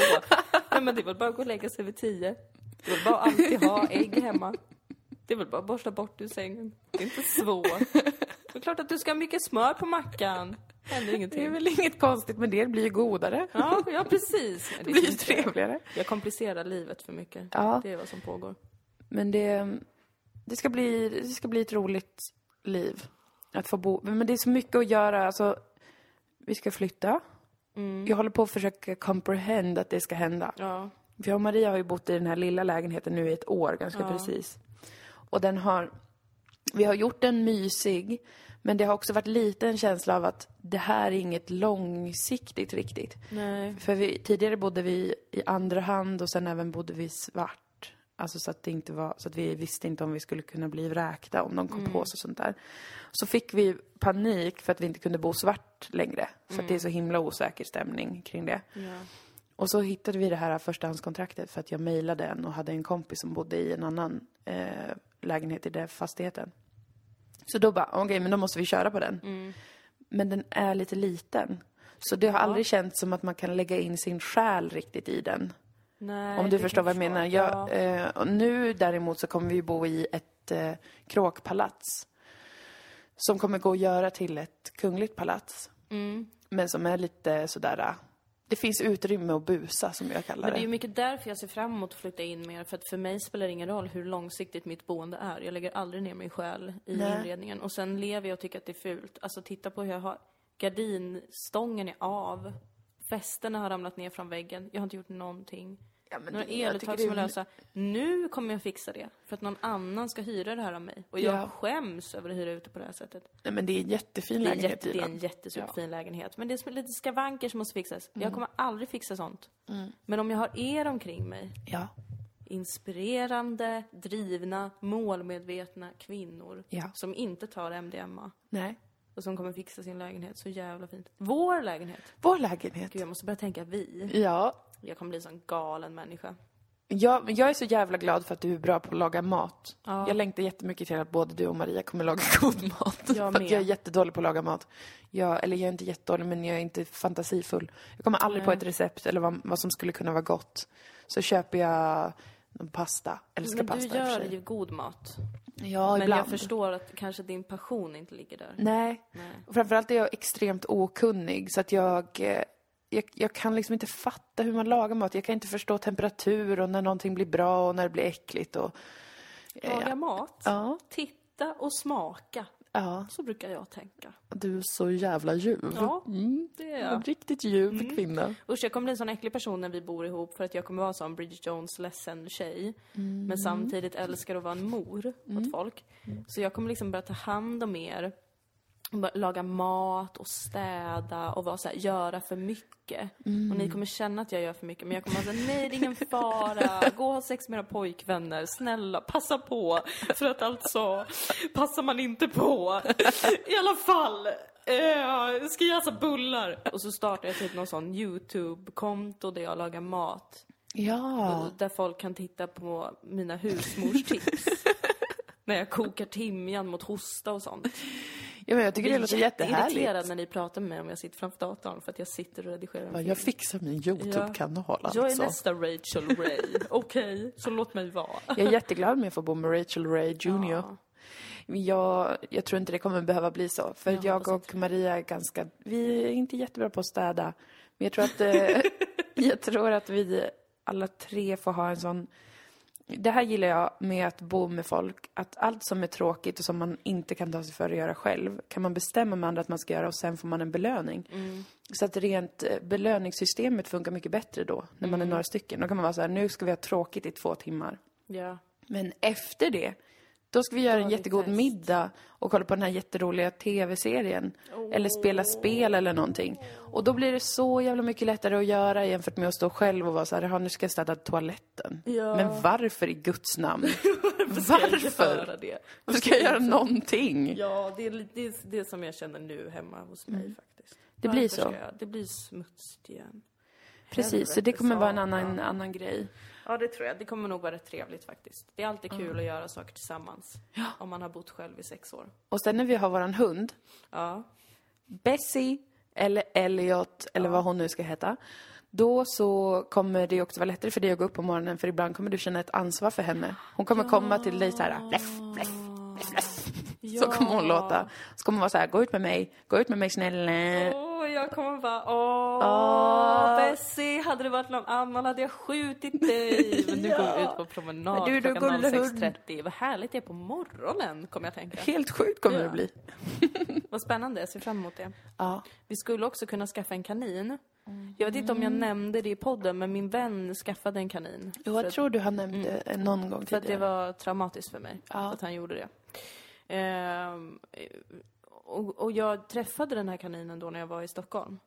[SPEAKER 1] Nej, men det är väl bara att gå och lägga sig vid tio. Det är väl bara att alltid ha ägg hemma. Det är väl bara att borsta bort ur sängen. Det är inte svårt. Det är klart att du ska ha mycket smör på mackan. Det händer
[SPEAKER 2] Det är
[SPEAKER 1] ingenting.
[SPEAKER 2] väl inget konstigt med det, det blir ju godare.
[SPEAKER 1] Ja, ja precis. Nej, det
[SPEAKER 2] Det blir ju
[SPEAKER 1] finns inte.
[SPEAKER 2] trevligare.
[SPEAKER 1] Jag komplicerar livet för mycket.
[SPEAKER 2] Ja.
[SPEAKER 1] Det är vad som pågår.
[SPEAKER 2] Men det, det, ska bli, det ska bli ett roligt liv att få bo. Men det är så mycket att göra. Alltså, vi ska flytta. Jag håller på att försöka comprehend att det ska hända.
[SPEAKER 1] Ja.
[SPEAKER 2] För jag och Maria har ju bott i den här lilla lägenheten nu i ett år ganska precis. Och den har, vi har gjort den mysig, men det har också varit lite en känsla av att det här är inget långsiktigt riktigt.
[SPEAKER 1] Nej.
[SPEAKER 2] För vi, tidigare bodde vi i andra hand och sen även bodde vi svart. Alltså så att, det inte var, så att vi visste inte om vi skulle kunna bli vräkta om de kom på oss och sånt där. Så fick vi panik för att vi inte kunde bo svart längre. För att det är så himla osäker stämning kring det.
[SPEAKER 1] Ja.
[SPEAKER 2] Och så hittade vi det här förstahandskontraktet för att jag mejlade en och hade en kompis som bodde i en annan eh, lägenhet i den fastigheten. Så då bara, okej men då måste vi köra på den. Men den är lite liten. Så det har aldrig känts som att man kan lägga in sin själ riktigt i den.
[SPEAKER 1] Nej,
[SPEAKER 2] om
[SPEAKER 1] det
[SPEAKER 2] du
[SPEAKER 1] kan
[SPEAKER 2] förstår vad jag menar.
[SPEAKER 1] Ja.
[SPEAKER 2] Jag, eh, och nu däremot så kommer vi ju bo i ett eh, kråkpalats. Som kommer gå att göra till ett kungligt palats.
[SPEAKER 1] Mm.
[SPEAKER 2] Men som är lite sådär, eh, det finns utrymme att busa som jag kallar
[SPEAKER 1] Men det
[SPEAKER 2] det.
[SPEAKER 1] är ju mycket därför jag ser fram emot att flytta in mer, för att för mig spelar det ingen roll hur långsiktigt mitt boende är. Jag lägger aldrig ner min själ i
[SPEAKER 2] Nej.
[SPEAKER 1] inredningen. Och sen lever jag och tycker att det är fult. Alltså titta på hur jag har... Gardinstången är av. Fästena har ramlat ner från väggen. Jag har inte gjort någonting.
[SPEAKER 2] Ja, men
[SPEAKER 1] Några
[SPEAKER 2] det- jag tycker
[SPEAKER 1] eluttag
[SPEAKER 2] det
[SPEAKER 1] som
[SPEAKER 2] är-
[SPEAKER 1] är lösa. Nu kommer jag fixa det, för att någon annan ska hyra det här av mig. Och jag
[SPEAKER 2] Ja.
[SPEAKER 1] skäms över att hyra ut det på det här sättet.
[SPEAKER 2] Nej men det är en
[SPEAKER 1] Det
[SPEAKER 2] jättefin
[SPEAKER 1] är,
[SPEAKER 2] lägenhet
[SPEAKER 1] jätte, det är en
[SPEAKER 2] Dilan.
[SPEAKER 1] jättesuperfin lägenhet. Men det är som lite skavanker som måste fixas.
[SPEAKER 2] Mm.
[SPEAKER 1] Jag kommer aldrig fixa sånt. Men om jag har er omkring mig,
[SPEAKER 2] Ja.
[SPEAKER 1] inspirerande, drivna, målmedvetna kvinnor
[SPEAKER 2] Ja.
[SPEAKER 1] som inte tar MDMA
[SPEAKER 2] Nej.
[SPEAKER 1] och som kommer fixa sin lägenhet så jävla fint. Vår lägenhet.
[SPEAKER 2] Vår lägenhet.
[SPEAKER 1] Gud, jag måste börja tänka vi.
[SPEAKER 2] Ja.
[SPEAKER 1] Jag kommer bli en sån galen människa.
[SPEAKER 2] Jag, men jag är så jävla glad för att du är bra på att laga mat. Jag längtar jättemycket till att både du och Maria kommer laga god mat.
[SPEAKER 1] Jag
[SPEAKER 2] för att
[SPEAKER 1] med.
[SPEAKER 2] jag är jättedålig på att laga mat. Jag, eller jag är inte jättedålig, men jag är inte fantasifull. Jag kommer aldrig på ett recept eller vad, vad som skulle kunna vara gott. Så köper jag någon pasta. Älskar
[SPEAKER 1] Men du
[SPEAKER 2] pasta i och för
[SPEAKER 1] gör
[SPEAKER 2] sig.
[SPEAKER 1] ju god mat.
[SPEAKER 2] Ja,
[SPEAKER 1] Men
[SPEAKER 2] ibland.
[SPEAKER 1] jag förstår att kanske din passion inte ligger där.
[SPEAKER 2] Nej.
[SPEAKER 1] Nej.
[SPEAKER 2] Och framförallt är jag extremt okunnig så att jag, eh, jag, jag kan liksom inte fatta hur man lagar mat. Jag kan inte förstå temperatur och när någonting blir bra och när det blir äckligt och... eh,
[SPEAKER 1] Laga mat,
[SPEAKER 2] Ja.
[SPEAKER 1] titta och smaka.
[SPEAKER 2] Ja,
[SPEAKER 1] Så brukar jag tänka.
[SPEAKER 2] du är så jävla ljuv.
[SPEAKER 1] Ja, Mm. det är
[SPEAKER 2] En
[SPEAKER 1] jag.
[SPEAKER 2] riktigt ljuv kvinna.
[SPEAKER 1] Usch, jag kommer bli en sån äcklig person när vi bor ihop för att jag kommer vara en sån Bridget Jones ledsen tjej. Men samtidigt älskar att vara en mor åt folk. Så jag kommer liksom börja ta hand om er. och börja Laga mat och städa och vara så här, göra för mycket. Och ni kommer känna att jag gör för mycket men jag kommer vara såhär, nej det är ingen fara. Gå och ha sex med era pojkvänner, snälla passa på. För att alltså, passar man inte på. I alla fall. Eh, ska jag äta bullar? Och så startar jag typ någon sån YouTube-konto där jag lagar mat.
[SPEAKER 2] Ja.
[SPEAKER 1] Där folk kan titta på mina husmorstips. När jag kokar timjan mot hosta och sånt.
[SPEAKER 2] ja, men jag tycker det låter jättehärligt.
[SPEAKER 1] irriterad när ni pratar med mig om jag sitter framför datorn för att jag sitter och redigerar en
[SPEAKER 2] Ja,
[SPEAKER 1] film.
[SPEAKER 2] Jag fixar min YouTube-kanal alltså.
[SPEAKER 1] Jag är nästa Rachel Ray. Okej, så låt mig vara.
[SPEAKER 2] Jag är jätteglad med att få bo med Rachel Ray Jr. Men Jag, jag tror inte det kommer behöva bli så. För jag, och Maria är ganska... Vi är inte jättebra på att städa. Men jag tror att, eh, jag tror att vi alla tre får ha en sån... Det här gillar jag med att bo med folk. Att allt som är tråkigt och som man inte kan ta sig för att göra själv kan man bestämma med andra att man ska göra och sen får man en belöning. Så att rent eh, belöningssystemet funkar mycket bättre då, när man är några stycken. Då kan man vara så här, nu ska vi ha tråkigt i två timmar.
[SPEAKER 1] Ja.
[SPEAKER 2] Men efter det, då ska vi göra en jättegod
[SPEAKER 1] fest.
[SPEAKER 2] middag och kolla på den här jätteroliga tv-serien. Eller spela spel eller någonting. Och då blir det så jävla mycket lättare att göra jämfört med att stå själv och vara så här, "Jaha, nu ska jag städa toaletten.
[SPEAKER 1] Ja.
[SPEAKER 2] Men varför i guds namn?
[SPEAKER 1] Göra
[SPEAKER 2] varför?
[SPEAKER 1] det.
[SPEAKER 2] Varför ska jag göra någonting?
[SPEAKER 1] Ja, det är, li- det, är, det är som jag känner nu hemma hos mig faktiskt.
[SPEAKER 2] Mm. Det blir så.
[SPEAKER 1] Ska jag? Det blir smutsigt igen.
[SPEAKER 2] Precis, så det
[SPEAKER 1] Helvete,
[SPEAKER 2] kommer vara en
[SPEAKER 1] satan.
[SPEAKER 2] annan, annan grej.
[SPEAKER 1] Ja, det tror jag. Det kommer nog vara rätt trevligt faktiskt. Det är alltid kul att göra saker tillsammans. Om man har bott själv i sex år.
[SPEAKER 2] Och sen när vi har våran hund,
[SPEAKER 1] Ja.
[SPEAKER 2] Bessie eller Elliot eller vad hon nu ska heta. Då så kommer det också vara lättare för dig att gå upp på morgonen för ibland kommer du känna ett ansvar för henne. Hon kommer komma till dig så här, bläff, bläff, bläff, bläff. Så kommer hon låta. Så kommer hon vara så här, gå ut med mig, gå ut med mig snälla.
[SPEAKER 1] Åh, jag kommer bara åh,
[SPEAKER 2] Åh.
[SPEAKER 1] Bessie, hade det varit någon annan hade jag skjutit dig. Men nu går vi ut på promenad
[SPEAKER 2] Men du, du
[SPEAKER 1] klockan
[SPEAKER 2] gulle hund.
[SPEAKER 1] 06.30. Vad härligt det är på morgonen, kommer jag tänka.
[SPEAKER 2] Helt sjukt kommer det
[SPEAKER 1] Ja.
[SPEAKER 2] bli.
[SPEAKER 1] Vad spännande, jag ser fram emot det.
[SPEAKER 2] Ja.
[SPEAKER 1] Vi skulle också kunna skaffa en kanin. Jag vet inte om jag nämnde det i podden, men min vän skaffade en kanin. för
[SPEAKER 2] Jag
[SPEAKER 1] att-
[SPEAKER 2] tror du har nämnt det eh, någon gång
[SPEAKER 1] För att det
[SPEAKER 2] tidigare.
[SPEAKER 1] var traumatiskt för mig
[SPEAKER 2] Ja.
[SPEAKER 1] att han gjorde det. Ehm, och, och jag träffade den här kaninen då när jag var i Stockholm.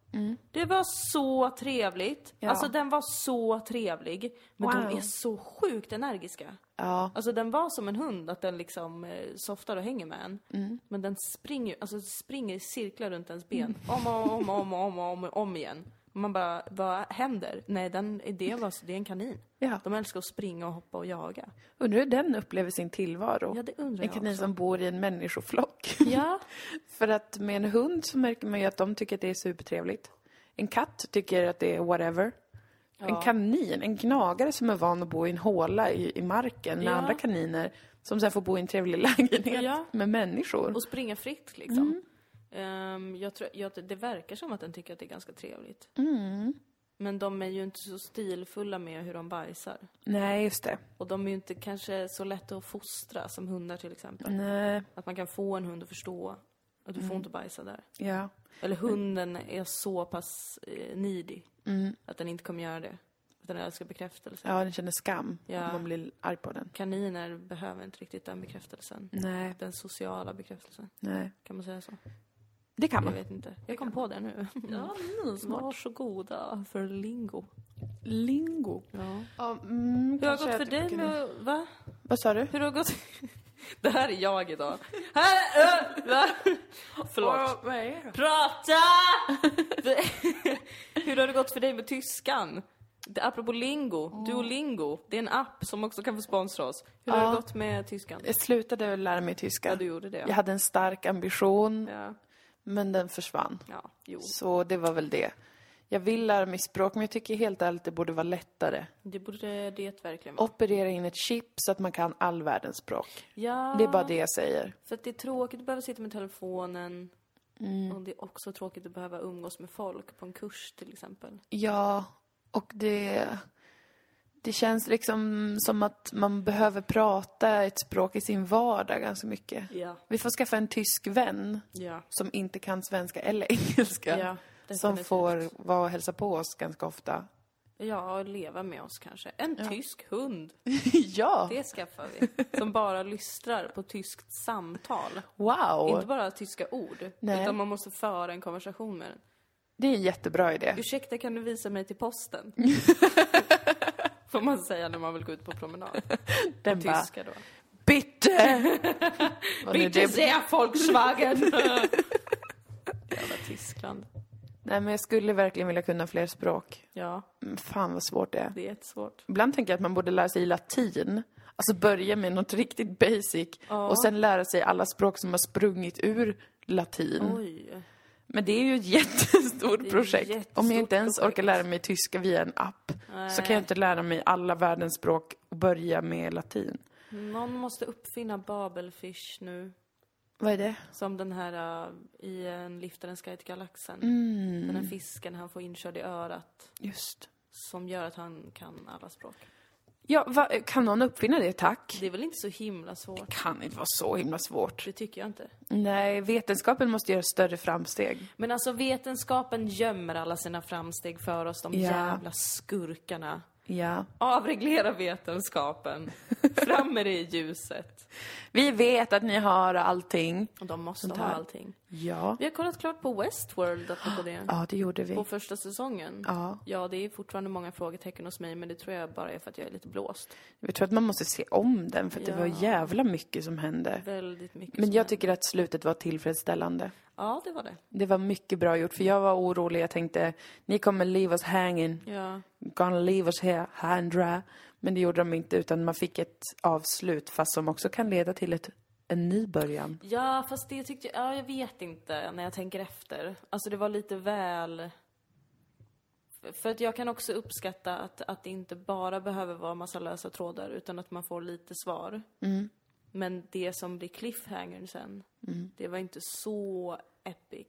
[SPEAKER 1] Det var så trevligt.
[SPEAKER 2] Mm. Ja.
[SPEAKER 1] Alltså den var så trevlig. Men
[SPEAKER 2] Wow.
[SPEAKER 1] de är så sjukt energiska.
[SPEAKER 2] Ja.
[SPEAKER 1] Alltså den var som en hund, att den liksom eh, softar och hänger med en.
[SPEAKER 2] Mm.
[SPEAKER 1] Men den springer, alltså, springer i cirklar runt ens ben. Om och om och om och om, och om, och om igen. Man bara, vad händer? Nej, den, det, var, det är en kanin.
[SPEAKER 2] ja.
[SPEAKER 1] De älskar att springa och hoppa och jaga.
[SPEAKER 2] Undrar hur den upplever sin tillvaro.
[SPEAKER 1] Ja, det undrar
[SPEAKER 2] En
[SPEAKER 1] jag
[SPEAKER 2] kanin
[SPEAKER 1] också.
[SPEAKER 2] som bor i en människoflock.
[SPEAKER 1] Ja.
[SPEAKER 2] För att med en hund så märker man ju att de tycker att det är supertrevligt. En katt tycker att det är whatever. En kanin, en gnagare som är van att bo i en håla i, i marken med
[SPEAKER 1] Ja.
[SPEAKER 2] andra kaniner. Som sen får bo i en trevlig lägenhet
[SPEAKER 1] Ja.
[SPEAKER 2] med människor.
[SPEAKER 1] Och springa fritt liksom. Ehm, jag tror, jag, det verkar som att den tycker att det är ganska trevligt.
[SPEAKER 2] Mm.
[SPEAKER 1] Men de är ju inte så stilfulla med hur de bajsar.
[SPEAKER 2] Nej, just det.
[SPEAKER 1] Och de är ju inte kanske så lätta att fostra som hundar till exempel.
[SPEAKER 2] Nej,
[SPEAKER 1] Att man kan få en hund att förstå att du får inte bajsa där.
[SPEAKER 2] ja.
[SPEAKER 1] Eller hunden är så pass eh, needy att den inte kommer göra det. Att den älskar bekräftelse.
[SPEAKER 2] Mm. Ja, den känner skam
[SPEAKER 1] Ja.
[SPEAKER 2] om man blir arg på den.
[SPEAKER 1] Kaniner behöver inte riktigt den bekräftelsen.
[SPEAKER 2] Nej,
[SPEAKER 1] Den sociala bekräftelsen,
[SPEAKER 2] nej.
[SPEAKER 1] kan man säga så?
[SPEAKER 2] Det kan
[SPEAKER 1] Jag
[SPEAKER 2] man.
[SPEAKER 1] vet inte. Jag kom på det nu. Ja, Varsågoda för lingo.
[SPEAKER 2] Lingo.
[SPEAKER 1] Ja.
[SPEAKER 2] Ja, mm,
[SPEAKER 1] Hur har det
[SPEAKER 2] kanske
[SPEAKER 1] gått för
[SPEAKER 2] att-
[SPEAKER 1] dig med... Va?
[SPEAKER 2] Vad sa du?
[SPEAKER 1] Hur har det gått? Det här är jag idag. Här är... Va? Förlåt.
[SPEAKER 2] Vad är det?
[SPEAKER 1] Prata! Hur har det gått för dig med tyskan? Det- Apropå lingo, Duolingo, det är en app som också kan få sponsra oss. Hur har
[SPEAKER 2] Ja.
[SPEAKER 1] det gått med tyskan?
[SPEAKER 2] Jag slutade lära mig tyska.
[SPEAKER 1] Ja, du gjorde det.
[SPEAKER 2] Jag hade en stark ambition,
[SPEAKER 1] Ja,
[SPEAKER 2] men den försvann.
[SPEAKER 1] ja jo.
[SPEAKER 2] Så det var väl det. Jag vill lära mig språk, men jag tycker helt ärligt det borde vara lättare.
[SPEAKER 1] Det borde det verkligen vara.
[SPEAKER 2] Operera in ett chip så att man kan all världens språk.
[SPEAKER 1] Ja.
[SPEAKER 2] Det är bara det jag säger.
[SPEAKER 1] För att det är tråkigt att behöva sitta med telefonen. Och det är också tråkigt att behöva umgås med folk på en kurs till exempel.
[SPEAKER 2] Ja, och det... Det känns liksom som att man behöver prata ett språk i sin vardag ganska mycket.
[SPEAKER 1] Ja.
[SPEAKER 2] Vi får skaffa en tysk vän
[SPEAKER 1] Ja.
[SPEAKER 2] som inte kan svenska eller engelska.
[SPEAKER 1] Ja,
[SPEAKER 2] som
[SPEAKER 1] definitivt.
[SPEAKER 2] får vara och hälsa på oss ganska ofta.
[SPEAKER 1] Ja, och leva med oss kanske. En tysk hund,
[SPEAKER 2] ja!
[SPEAKER 1] det skaffar vi. Som bara lystrar på tyskt samtal.
[SPEAKER 2] Wow!
[SPEAKER 1] Inte bara tyska ord,
[SPEAKER 2] Nej.
[SPEAKER 1] utan man måste föra en konversation med den.
[SPEAKER 2] Det är en jättebra idé.
[SPEAKER 1] Ursäkta, kan du visa mig till posten? Får man säga när man vill gå ut på promenad.
[SPEAKER 2] Den bara,
[SPEAKER 1] Tyska då.
[SPEAKER 2] bitte! Vad nu
[SPEAKER 1] Bitte
[SPEAKER 2] det-
[SPEAKER 1] sehr Volkswagen! Jävla Tyskland.
[SPEAKER 2] Nej men jag skulle verkligen vilja kunna fler språk.
[SPEAKER 1] Ja,
[SPEAKER 2] Mm, Fan vad svårt det är.
[SPEAKER 1] det är jättesvårt.
[SPEAKER 2] Ibland tänker jag att man borde lära sig latin. Alltså börja med något riktigt basic och sen lära sig alla språk som har sprungit ur latin.
[SPEAKER 1] Mm. Oj.
[SPEAKER 2] Men det är ju ett jättestort
[SPEAKER 1] ett
[SPEAKER 2] projekt. Om jag
[SPEAKER 1] jättestort
[SPEAKER 2] inte ens
[SPEAKER 1] projekt.
[SPEAKER 2] orkar lära mig tyska via en app så kan jag inte lära mig alla världens språk och börja med latin.
[SPEAKER 1] Någon måste uppfinna Babelfish nu.
[SPEAKER 2] Vad är det?
[SPEAKER 1] Som den här eh, i en Liftarens guide till galaxen.
[SPEAKER 2] Mm.
[SPEAKER 1] Den här fisken han får inkörd i örat.
[SPEAKER 2] Just.
[SPEAKER 1] Som gör att han kan alla språk.
[SPEAKER 2] Ja, va, kan någon uppfinna det tack?
[SPEAKER 1] Det är väl inte så himla svårt?
[SPEAKER 2] Det kan inte vara så himla svårt.
[SPEAKER 1] Det tycker jag inte.
[SPEAKER 2] Nej, vetenskapen måste göra större framsteg.
[SPEAKER 1] Men alltså vetenskapen gömmer alla sina framsteg för oss, de
[SPEAKER 2] Ja.
[SPEAKER 1] jävla skurkarna.
[SPEAKER 2] Ja.
[SPEAKER 1] Avreglera vetenskapen. Fram med det i ljuset.
[SPEAKER 2] Vi vet att ni har allting.
[SPEAKER 1] Och de måste
[SPEAKER 2] Sånt
[SPEAKER 1] ha
[SPEAKER 2] här.
[SPEAKER 1] allting.
[SPEAKER 2] Ja.
[SPEAKER 1] Vi har kollat klart på Westworld, apropå det.
[SPEAKER 2] Ja, det gjorde vi.
[SPEAKER 1] På första säsongen?
[SPEAKER 2] Mm. Ja.
[SPEAKER 1] Ja, det är fortfarande många frågetecken hos mig, men det tror jag bara är för att jag är lite blåst.
[SPEAKER 2] Jag tror att man måste se om den för att det var jävla mycket som hände.
[SPEAKER 1] Väldigt mycket
[SPEAKER 2] Men
[SPEAKER 1] som
[SPEAKER 2] jag
[SPEAKER 1] händer.
[SPEAKER 2] tycker att slutet var tillfredsställande.
[SPEAKER 1] Ja, det var det.
[SPEAKER 2] Det var mycket bra gjort, för jag var orolig. Jag tänkte, ni kommer leave us hanging.
[SPEAKER 1] Ja.
[SPEAKER 2] Gonna leave us here, handra. Men det gjorde de inte, utan man fick ett avslut, fast som också kan leda till ett, en ny början.
[SPEAKER 1] Ja, fast det tyckte jag... Ja, jag vet inte när jag tänker efter. Alltså det var lite väl... För att jag kan också uppskatta att, att det inte bara behöver vara massa lösa trådar utan att man får lite svar. Men det som blir cliffhangern sen, det var inte så epic.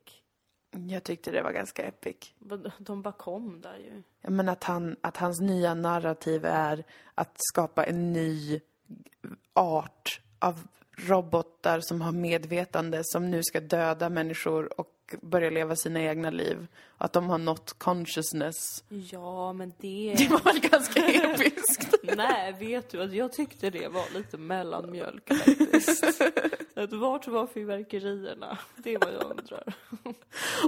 [SPEAKER 2] Jag tyckte det var ganska epic.
[SPEAKER 1] Vad- De bara kom där ju.
[SPEAKER 2] Ja, Men att, han, att hans nya narrativ är att skapa en ny art av robotar som har medvetande som nu ska döda människor och börja leva sina egna liv. Att de har nått consciousness.
[SPEAKER 1] Ja, men det...
[SPEAKER 2] Det var väl ganska episkt?
[SPEAKER 1] Nej, vet du att jag tyckte det var lite mellanmjölk faktiskt. Att vart var fyrverkerierna? Det är vad jag undrar.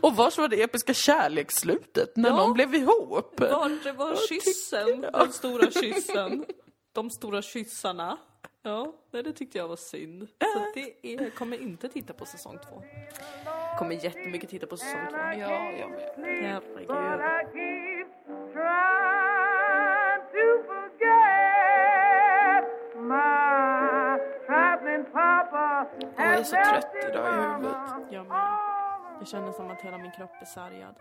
[SPEAKER 2] Och vars var det episka kärleksslutet när
[SPEAKER 1] Ja.
[SPEAKER 2] någon blev ihop?
[SPEAKER 1] Vart var kyssen? Den stora kyssen? De stora kyssarna? Ja, nej, det tyckte jag var synd. Så det är, jag kommer inte titta på säsong två. Kommer jättemycket titta på säsong två.
[SPEAKER 2] Ja, jag med.
[SPEAKER 1] Herregud.
[SPEAKER 3] I keep trying to forget my traveling papa.
[SPEAKER 2] Jag är
[SPEAKER 3] has
[SPEAKER 2] så trött
[SPEAKER 3] left his
[SPEAKER 2] idag i huvudet.
[SPEAKER 1] Jag med. Jag känner som att hela min kropp är sargad.